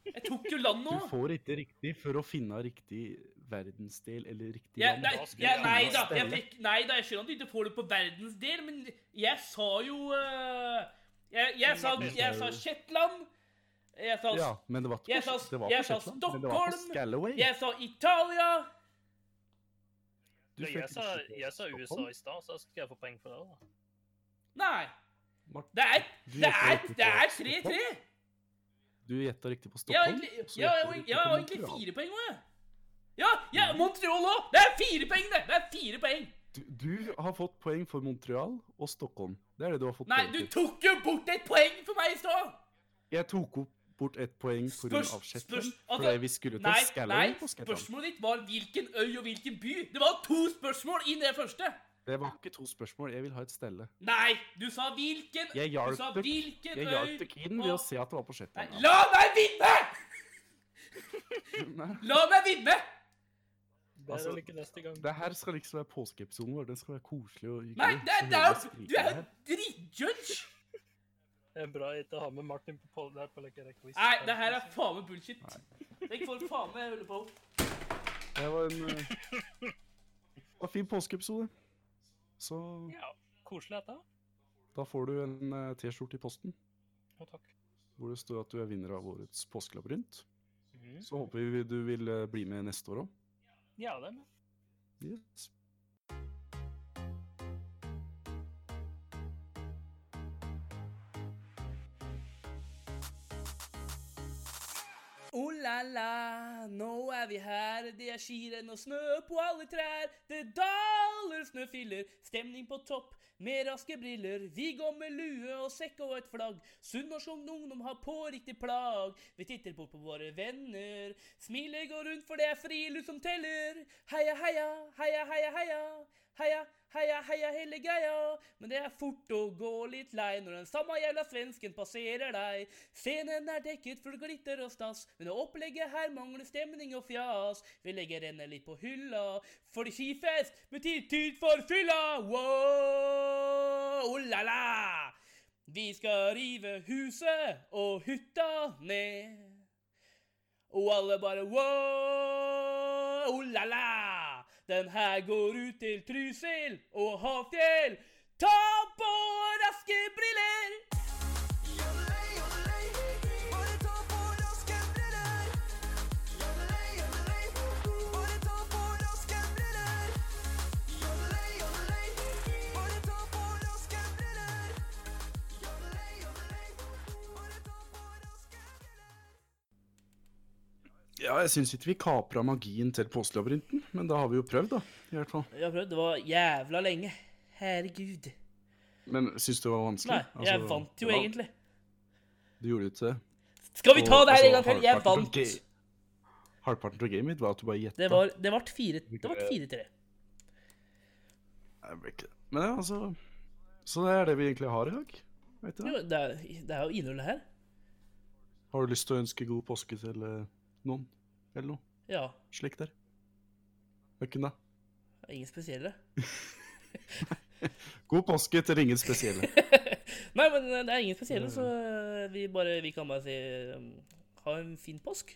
[SPEAKER 2] Jeg tok jo land nå.
[SPEAKER 1] Du får ikke riktig for å finne riktig verdensdel eller riktig
[SPEAKER 2] Jeg,
[SPEAKER 1] land.
[SPEAKER 2] nei,
[SPEAKER 4] Da skulle
[SPEAKER 2] jeg,
[SPEAKER 4] jeg
[SPEAKER 2] nei da,
[SPEAKER 4] ha
[SPEAKER 2] jeg
[SPEAKER 1] stemme.
[SPEAKER 2] fikk, nei da, jeg skjønner at du ikke får det på verdensdel, men jeg sa jo eh, jeg, jeg, sa, jeg sa Shetland. Jeg sa,
[SPEAKER 1] Ja, men det var ikke
[SPEAKER 2] Jeg
[SPEAKER 1] på-
[SPEAKER 2] sa-
[SPEAKER 1] det var
[SPEAKER 2] jeg
[SPEAKER 1] på
[SPEAKER 2] sa
[SPEAKER 1] Shetland, men det var på
[SPEAKER 2] Stockholm.
[SPEAKER 1] Scalloway.
[SPEAKER 2] jeg sa Italia.
[SPEAKER 1] Du
[SPEAKER 4] Jeg
[SPEAKER 1] fikk
[SPEAKER 4] sa,
[SPEAKER 1] ikke
[SPEAKER 4] jeg sa USA
[SPEAKER 1] Stockholm.
[SPEAKER 4] i stad, så skal jeg få poeng for det. da.
[SPEAKER 2] Nei.
[SPEAKER 1] Martin,
[SPEAKER 2] Det er
[SPEAKER 1] Du
[SPEAKER 2] Det
[SPEAKER 1] gjetter
[SPEAKER 2] er
[SPEAKER 1] riktig på
[SPEAKER 2] det er
[SPEAKER 1] Stockholm. Du gjetta riktig på
[SPEAKER 2] 3-3! Jeg har
[SPEAKER 1] Stockholm.
[SPEAKER 2] egentlig,
[SPEAKER 1] og så
[SPEAKER 2] jeg har-
[SPEAKER 1] gjetter du riktig
[SPEAKER 2] jeg har
[SPEAKER 1] på
[SPEAKER 2] egentlig
[SPEAKER 1] Montreal.
[SPEAKER 2] fire poeng òg, jeg. Ja, ja, Montreal òg! Det er fire poeng, det! Det er fire poeng.
[SPEAKER 1] Du, du har fått poeng for Montreal og Stockholm. Det er det du har fått
[SPEAKER 2] Nei,
[SPEAKER 1] poeng
[SPEAKER 2] du
[SPEAKER 1] for.
[SPEAKER 2] tok jo bort et poeng for meg i stad!
[SPEAKER 1] Jeg tok opp bort ett poeng pga.
[SPEAKER 2] Spørs-
[SPEAKER 1] Shetland.
[SPEAKER 2] spørs- altså,
[SPEAKER 1] Fordi vi skulle til
[SPEAKER 2] Nei,
[SPEAKER 1] Scalloway
[SPEAKER 2] nei,
[SPEAKER 1] på Scotland.
[SPEAKER 2] spørsmålet ditt var hvilken øy og hvilken by. Det var to spørsmål i det første.
[SPEAKER 1] Det var ikke to spørsmål. Jeg vil ha et stelle.
[SPEAKER 2] Nei, du sa hvilken
[SPEAKER 1] Jeg
[SPEAKER 2] Du
[SPEAKER 1] hjalp
[SPEAKER 2] sa
[SPEAKER 1] dere-
[SPEAKER 2] hvilken
[SPEAKER 1] Jeg
[SPEAKER 2] øy
[SPEAKER 1] hjalp deg inn ved å se at det var på
[SPEAKER 2] Nei,
[SPEAKER 1] Shetland.
[SPEAKER 2] La meg vinne!
[SPEAKER 1] Nei,
[SPEAKER 2] La meg vinne!
[SPEAKER 4] Det er
[SPEAKER 1] Altså,
[SPEAKER 4] vel ikke neste gang.
[SPEAKER 1] Det her skal liksom være påskeepisoden vår. Den skal være koselig og
[SPEAKER 2] Nei,
[SPEAKER 1] hyggelig.
[SPEAKER 2] det er,
[SPEAKER 1] Så hører
[SPEAKER 2] det er,
[SPEAKER 1] vi
[SPEAKER 2] du er jo
[SPEAKER 1] skrive her.
[SPEAKER 2] drittjudge!
[SPEAKER 4] Det er bra jeg ikke har med Martin på pollen her på Lekkerøy quiz.
[SPEAKER 2] Nei, det her er faen meg bullshit. Jeg får faen meg holde på.
[SPEAKER 1] Det var en eh, det var en fin påskeepisode. Så
[SPEAKER 4] Ja, koselig dette.
[SPEAKER 1] da får du en eh, T-skjorte i posten
[SPEAKER 4] Jo, takk.
[SPEAKER 1] hvor det står at du er vinner av årets påskelabyrint.
[SPEAKER 4] Mhm.
[SPEAKER 1] Så håper vi du vil eh, bli med neste år òg.
[SPEAKER 4] Ja, det er med.
[SPEAKER 1] Yes.
[SPEAKER 2] Oh la la, nå er vi her, det er skirenn og snø på alle trær. Det daler snøfiller, stemning på topp, med raske briller. Vi går med lue og sekk og et flagg. Sunnmørsk ungdom har på riktig plagg. Vi titter bort på våre venner. Smilet går rundt, for det er friluft som teller. Heia, heia, heia, heia, heia. Heia, heia, heia hele greia. Men det er fort å gå litt lei når den samme jævla svensken passerer deg. Scenen er dekket for glitter og stas, men opplegget her mangler stemning og fjas. Vi legger henne litt på hylla, for skifest betyr tid for fylla. Wow, oh la la. Vi skal rive huset og hytta ned. Og alle bare wow, oh la la. Den her går ut til Trysil og Hafjell. Ta på raske briller!
[SPEAKER 5] Jodelei, jodelei, bare ta på raske briller. Jodelei, jodelei, bare ta på raske briller. Jodelei, jodelei, bare ta på raske briller. Jodelei, jodelei, bare ta på raske briller.
[SPEAKER 1] Ja, jeg syns ikke vi kapra magien til påskelabyrinten, men da har vi jo prøvd, da. i hvert fall.
[SPEAKER 2] Jeg har prøvd, det var jævla lenge. Herregud.
[SPEAKER 1] Men syns du det var vanskelig?
[SPEAKER 2] Nei, jeg
[SPEAKER 1] Altså,
[SPEAKER 2] vant jo
[SPEAKER 1] ja,
[SPEAKER 2] egentlig.
[SPEAKER 1] Du gjorde jo ikke det.
[SPEAKER 2] Skal vi ta
[SPEAKER 1] Og,
[SPEAKER 2] det her
[SPEAKER 1] altså,
[SPEAKER 2] en gang til? Jeg
[SPEAKER 1] halvparten av
[SPEAKER 2] vant.
[SPEAKER 1] ga- Halvparten av gamet mitt var at du bare gjetta.
[SPEAKER 2] Det var, det vart fire, det vart fire-tre.
[SPEAKER 1] Nei, det ble ikke det. Men ja, altså Så det er det vi egentlig har i dag. Vet du?
[SPEAKER 2] Jo, Det, er- det er jo innholdet her.
[SPEAKER 1] Har du lyst til å ønske god påske til eh, noen? Eller noe
[SPEAKER 2] Ja,
[SPEAKER 1] slikt der? Hvem da?
[SPEAKER 2] ingen spesielle.
[SPEAKER 1] God påske til ingen spesielle.
[SPEAKER 2] Nei, men eh, det er ingen spesielle, så eh, vi, bare, vi kan bare si um, ha en fin påsk.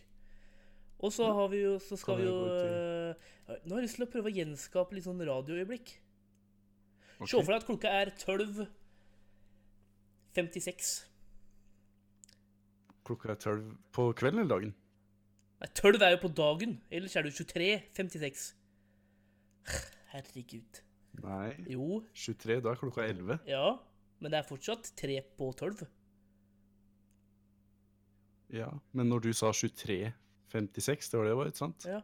[SPEAKER 2] Og så har vi jo, så skal
[SPEAKER 1] Kan
[SPEAKER 2] vi
[SPEAKER 1] jeg
[SPEAKER 2] jo
[SPEAKER 1] gå
[SPEAKER 2] eh, Nå har jeg lyst til å prøve å gjenskape litt sånn radioøyeblikk.
[SPEAKER 1] Ok.
[SPEAKER 2] Se for deg at klokka er 12.56.
[SPEAKER 1] Klokka er tolv på kvelden eller dagen?
[SPEAKER 2] Nei, 12 er jo på dagen, ellers er det jo 23.56. Herregud.
[SPEAKER 1] Nei.
[SPEAKER 2] Jo,
[SPEAKER 1] 23, da er klokka 11.
[SPEAKER 2] ja, men det er fortsatt 3 på 12.
[SPEAKER 1] Ja. Men når du sa 23.56, det var det det var, ikke sant?
[SPEAKER 2] Ja.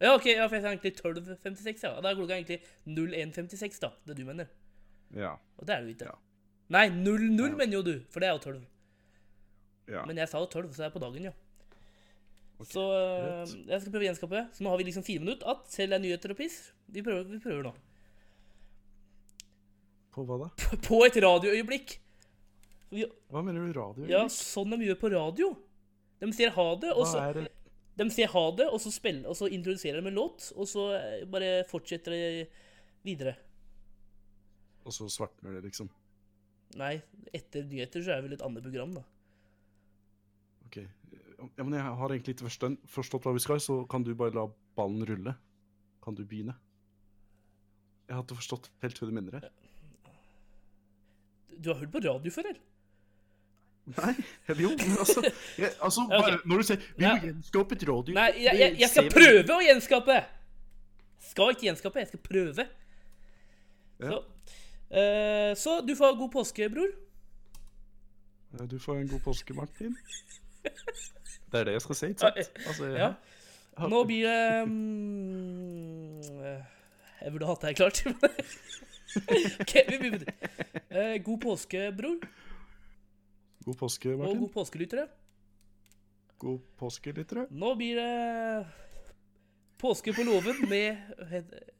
[SPEAKER 2] Ja, ok, ja, for jeg sa egentlig 12.56, ja. Da er klokka egentlig 01.56, da, det du mener.
[SPEAKER 1] Ja.
[SPEAKER 2] Og det er det jo ikke.
[SPEAKER 1] Ja.
[SPEAKER 2] Nei, 00
[SPEAKER 1] Nei.
[SPEAKER 2] mener jo du, for det er jo 12.
[SPEAKER 1] ja.
[SPEAKER 2] Men jeg sa jo 12, så det er på dagen, ja.
[SPEAKER 1] Ok,
[SPEAKER 2] Så eh,
[SPEAKER 1] greit.
[SPEAKER 2] jeg skal prøve å gjenskape det. Så nå har vi liksom fire minutter at selv er nyheter og piss. Vi prøver, vi prøver nå.
[SPEAKER 1] På hva da?
[SPEAKER 2] På et radioøyeblikk. Vi,
[SPEAKER 1] Hva mener du, radio?
[SPEAKER 2] ja, sånn de gjør på radio. De sier ha det, og så
[SPEAKER 1] Hva er det?
[SPEAKER 2] De sier ha det, og så, spiller, og så introduserer de en låt, og så eh, bare fortsetter de videre.
[SPEAKER 1] Og så svartner det, liksom.
[SPEAKER 2] Nei, etter nyheter så er det vel et annet program, da.
[SPEAKER 1] Ok. Ja, men jeg har egentlig ikke forstått, forstått hva vi skal, så kan du bare la ballen rulle. Kan du begynne? Jeg har ikke forstått helt hva du mener her.
[SPEAKER 2] Du har hørt på radio før, eller?
[SPEAKER 1] Nei, eller jo, men altså, jeg, altså bare, Når du sier 'vi må
[SPEAKER 2] Ja.
[SPEAKER 1] gjenskape et radio'
[SPEAKER 2] Nei, jeg, jeg,
[SPEAKER 1] det
[SPEAKER 2] jeg skal
[SPEAKER 1] ser vi-
[SPEAKER 2] prøve å gjenskape! Skal ikke gjenskape, jeg skal prøve. Så, eh, så du får ha god påske, bror.
[SPEAKER 1] Ja, Du får en god påske, Martin. Det er det jeg skal si, ikke
[SPEAKER 2] Ja,
[SPEAKER 1] sant? Altså, jeg,
[SPEAKER 2] Ja. Nå blir det mm, eh, Jeg burde hatt det her klart. OK, vi begynner. Eh, god påske, bror,
[SPEAKER 1] God påske,
[SPEAKER 2] og
[SPEAKER 1] Martin.
[SPEAKER 2] god påskelyttere.
[SPEAKER 1] God påske, lyttere.
[SPEAKER 2] Nå blir det påske på låven med het-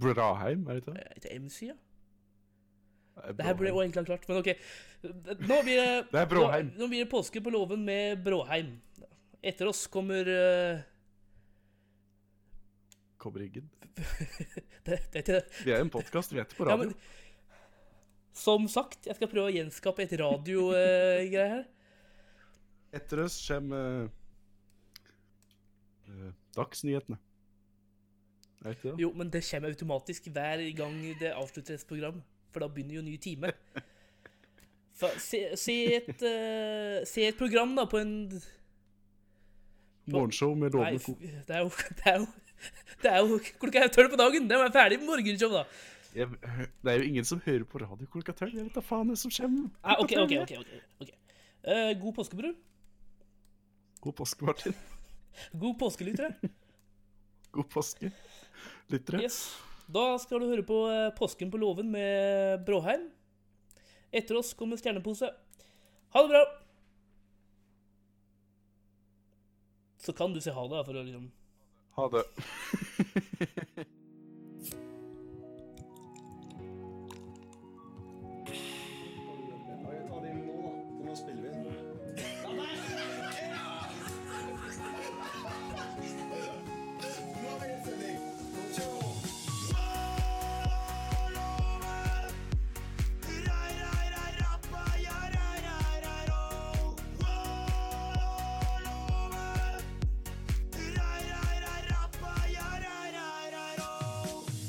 [SPEAKER 1] Braheim, er det ikke det?
[SPEAKER 2] er det MC, ja?
[SPEAKER 1] Nei,
[SPEAKER 2] Eh, Det her ble
[SPEAKER 1] Bråheim.
[SPEAKER 2] jo egentlig klart, men OK. Nå blir det,
[SPEAKER 1] Det er Bråheim.
[SPEAKER 2] Nå, nå blir det påske på låven med Bråheim. Etter oss kommer eh,
[SPEAKER 1] Kobberryggen.
[SPEAKER 2] det, det, det.
[SPEAKER 1] Vi er en podkast, vi er ikke på
[SPEAKER 2] Ja,
[SPEAKER 1] radio.
[SPEAKER 2] men, Som sagt, jeg skal prøve å gjenskape et radiogreie her.
[SPEAKER 1] Etter oss kommer eh, eh, Dagsnyhetene. Er det ikke det?
[SPEAKER 2] Jo, men det kommer automatisk hver gang det avslutter et program. For da begynner jo ny time. Så, se, se, et, eh, se et program, da, på en
[SPEAKER 1] Morgenshow med
[SPEAKER 2] Nei,
[SPEAKER 1] lovende
[SPEAKER 2] f-
[SPEAKER 1] ko.
[SPEAKER 2] det er jo Det er jo, det er jo klokka er tolv på dagen. Det må være ferdig med morgenshow, da.
[SPEAKER 1] Jeg- Det er jo ingen som hører på radio klokka tolv. Jeg vet da faen hva som kommer.
[SPEAKER 2] Ah, OK, OK. ok, ok, ok. Eh, god påske, bror.
[SPEAKER 1] God påske, Martin.
[SPEAKER 2] God påskelytt, tror jeg.
[SPEAKER 1] God påske, lyttere.
[SPEAKER 2] Yes. Da skal du høre på eh, Påsken på låven med Bråheim. Etter oss kommer Stjernepose. Ha det bra! Så kan du si ha det, da, for å liksom
[SPEAKER 1] Ha det.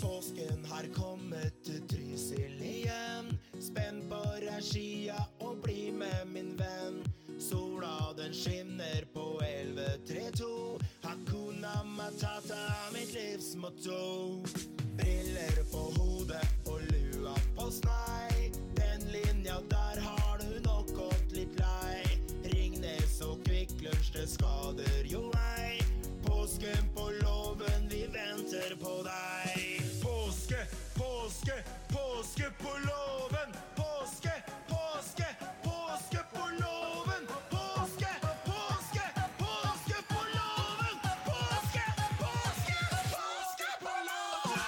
[SPEAKER 5] Påsken har kommet til Trysil igjen. Spenn på regia og bli med min venn. Sola den skinner på 11.32. Hakuna matata er mitt livsmotto. Briller på hodet og lua på snei. Den linja der har du nok gått litt lei. Ringnes og Kvikk Lunsj, det skader jo ei. Påsken på låven, vi venter på deg. Påske, påske, påske på låven. Påske, påske, påske på låven. Påske, påske, påske på låven. Påske, påske, påske på låven.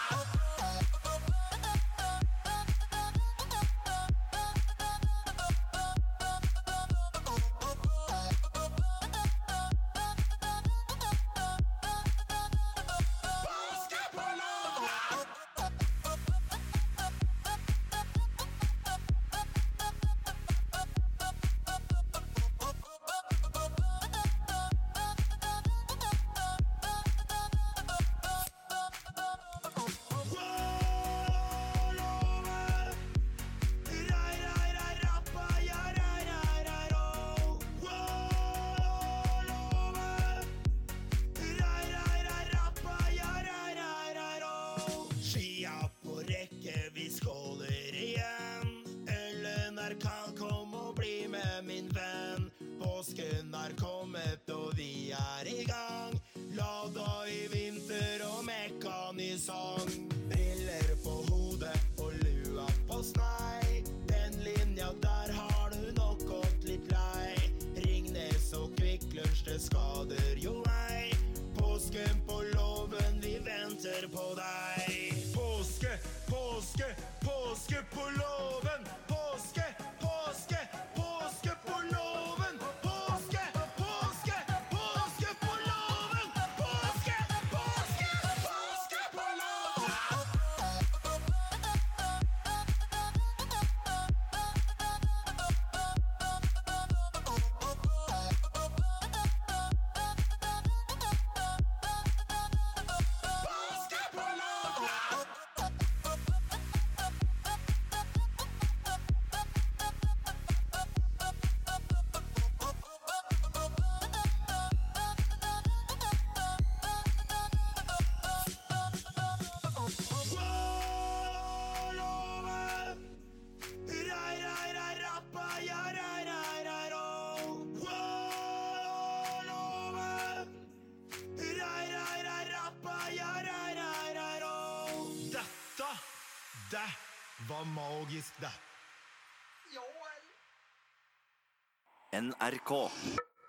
[SPEAKER 5] er i gang. Lada i vinter og mekanisong. Briller på hodet og lua på snei. Den linja der har du nok gått litt lei. Ringnes og Kvikk Lunsj, det skader jo ei. Påsken på låven, vi venter på deg. Påske, påske, påske på låven. Påske, påske, påske på låven. Påske, påske, påske på låven. Påske, påske, påske på låven. Påske på låven. Wow! Rai, rai, rai, rappa, ja, rai, rai, rai, ro. Wow, love. Rai, rai, rai, rappa, ja, rai, rai, rai, ro. Dette, det var magisk, det.
[SPEAKER 6] NRK.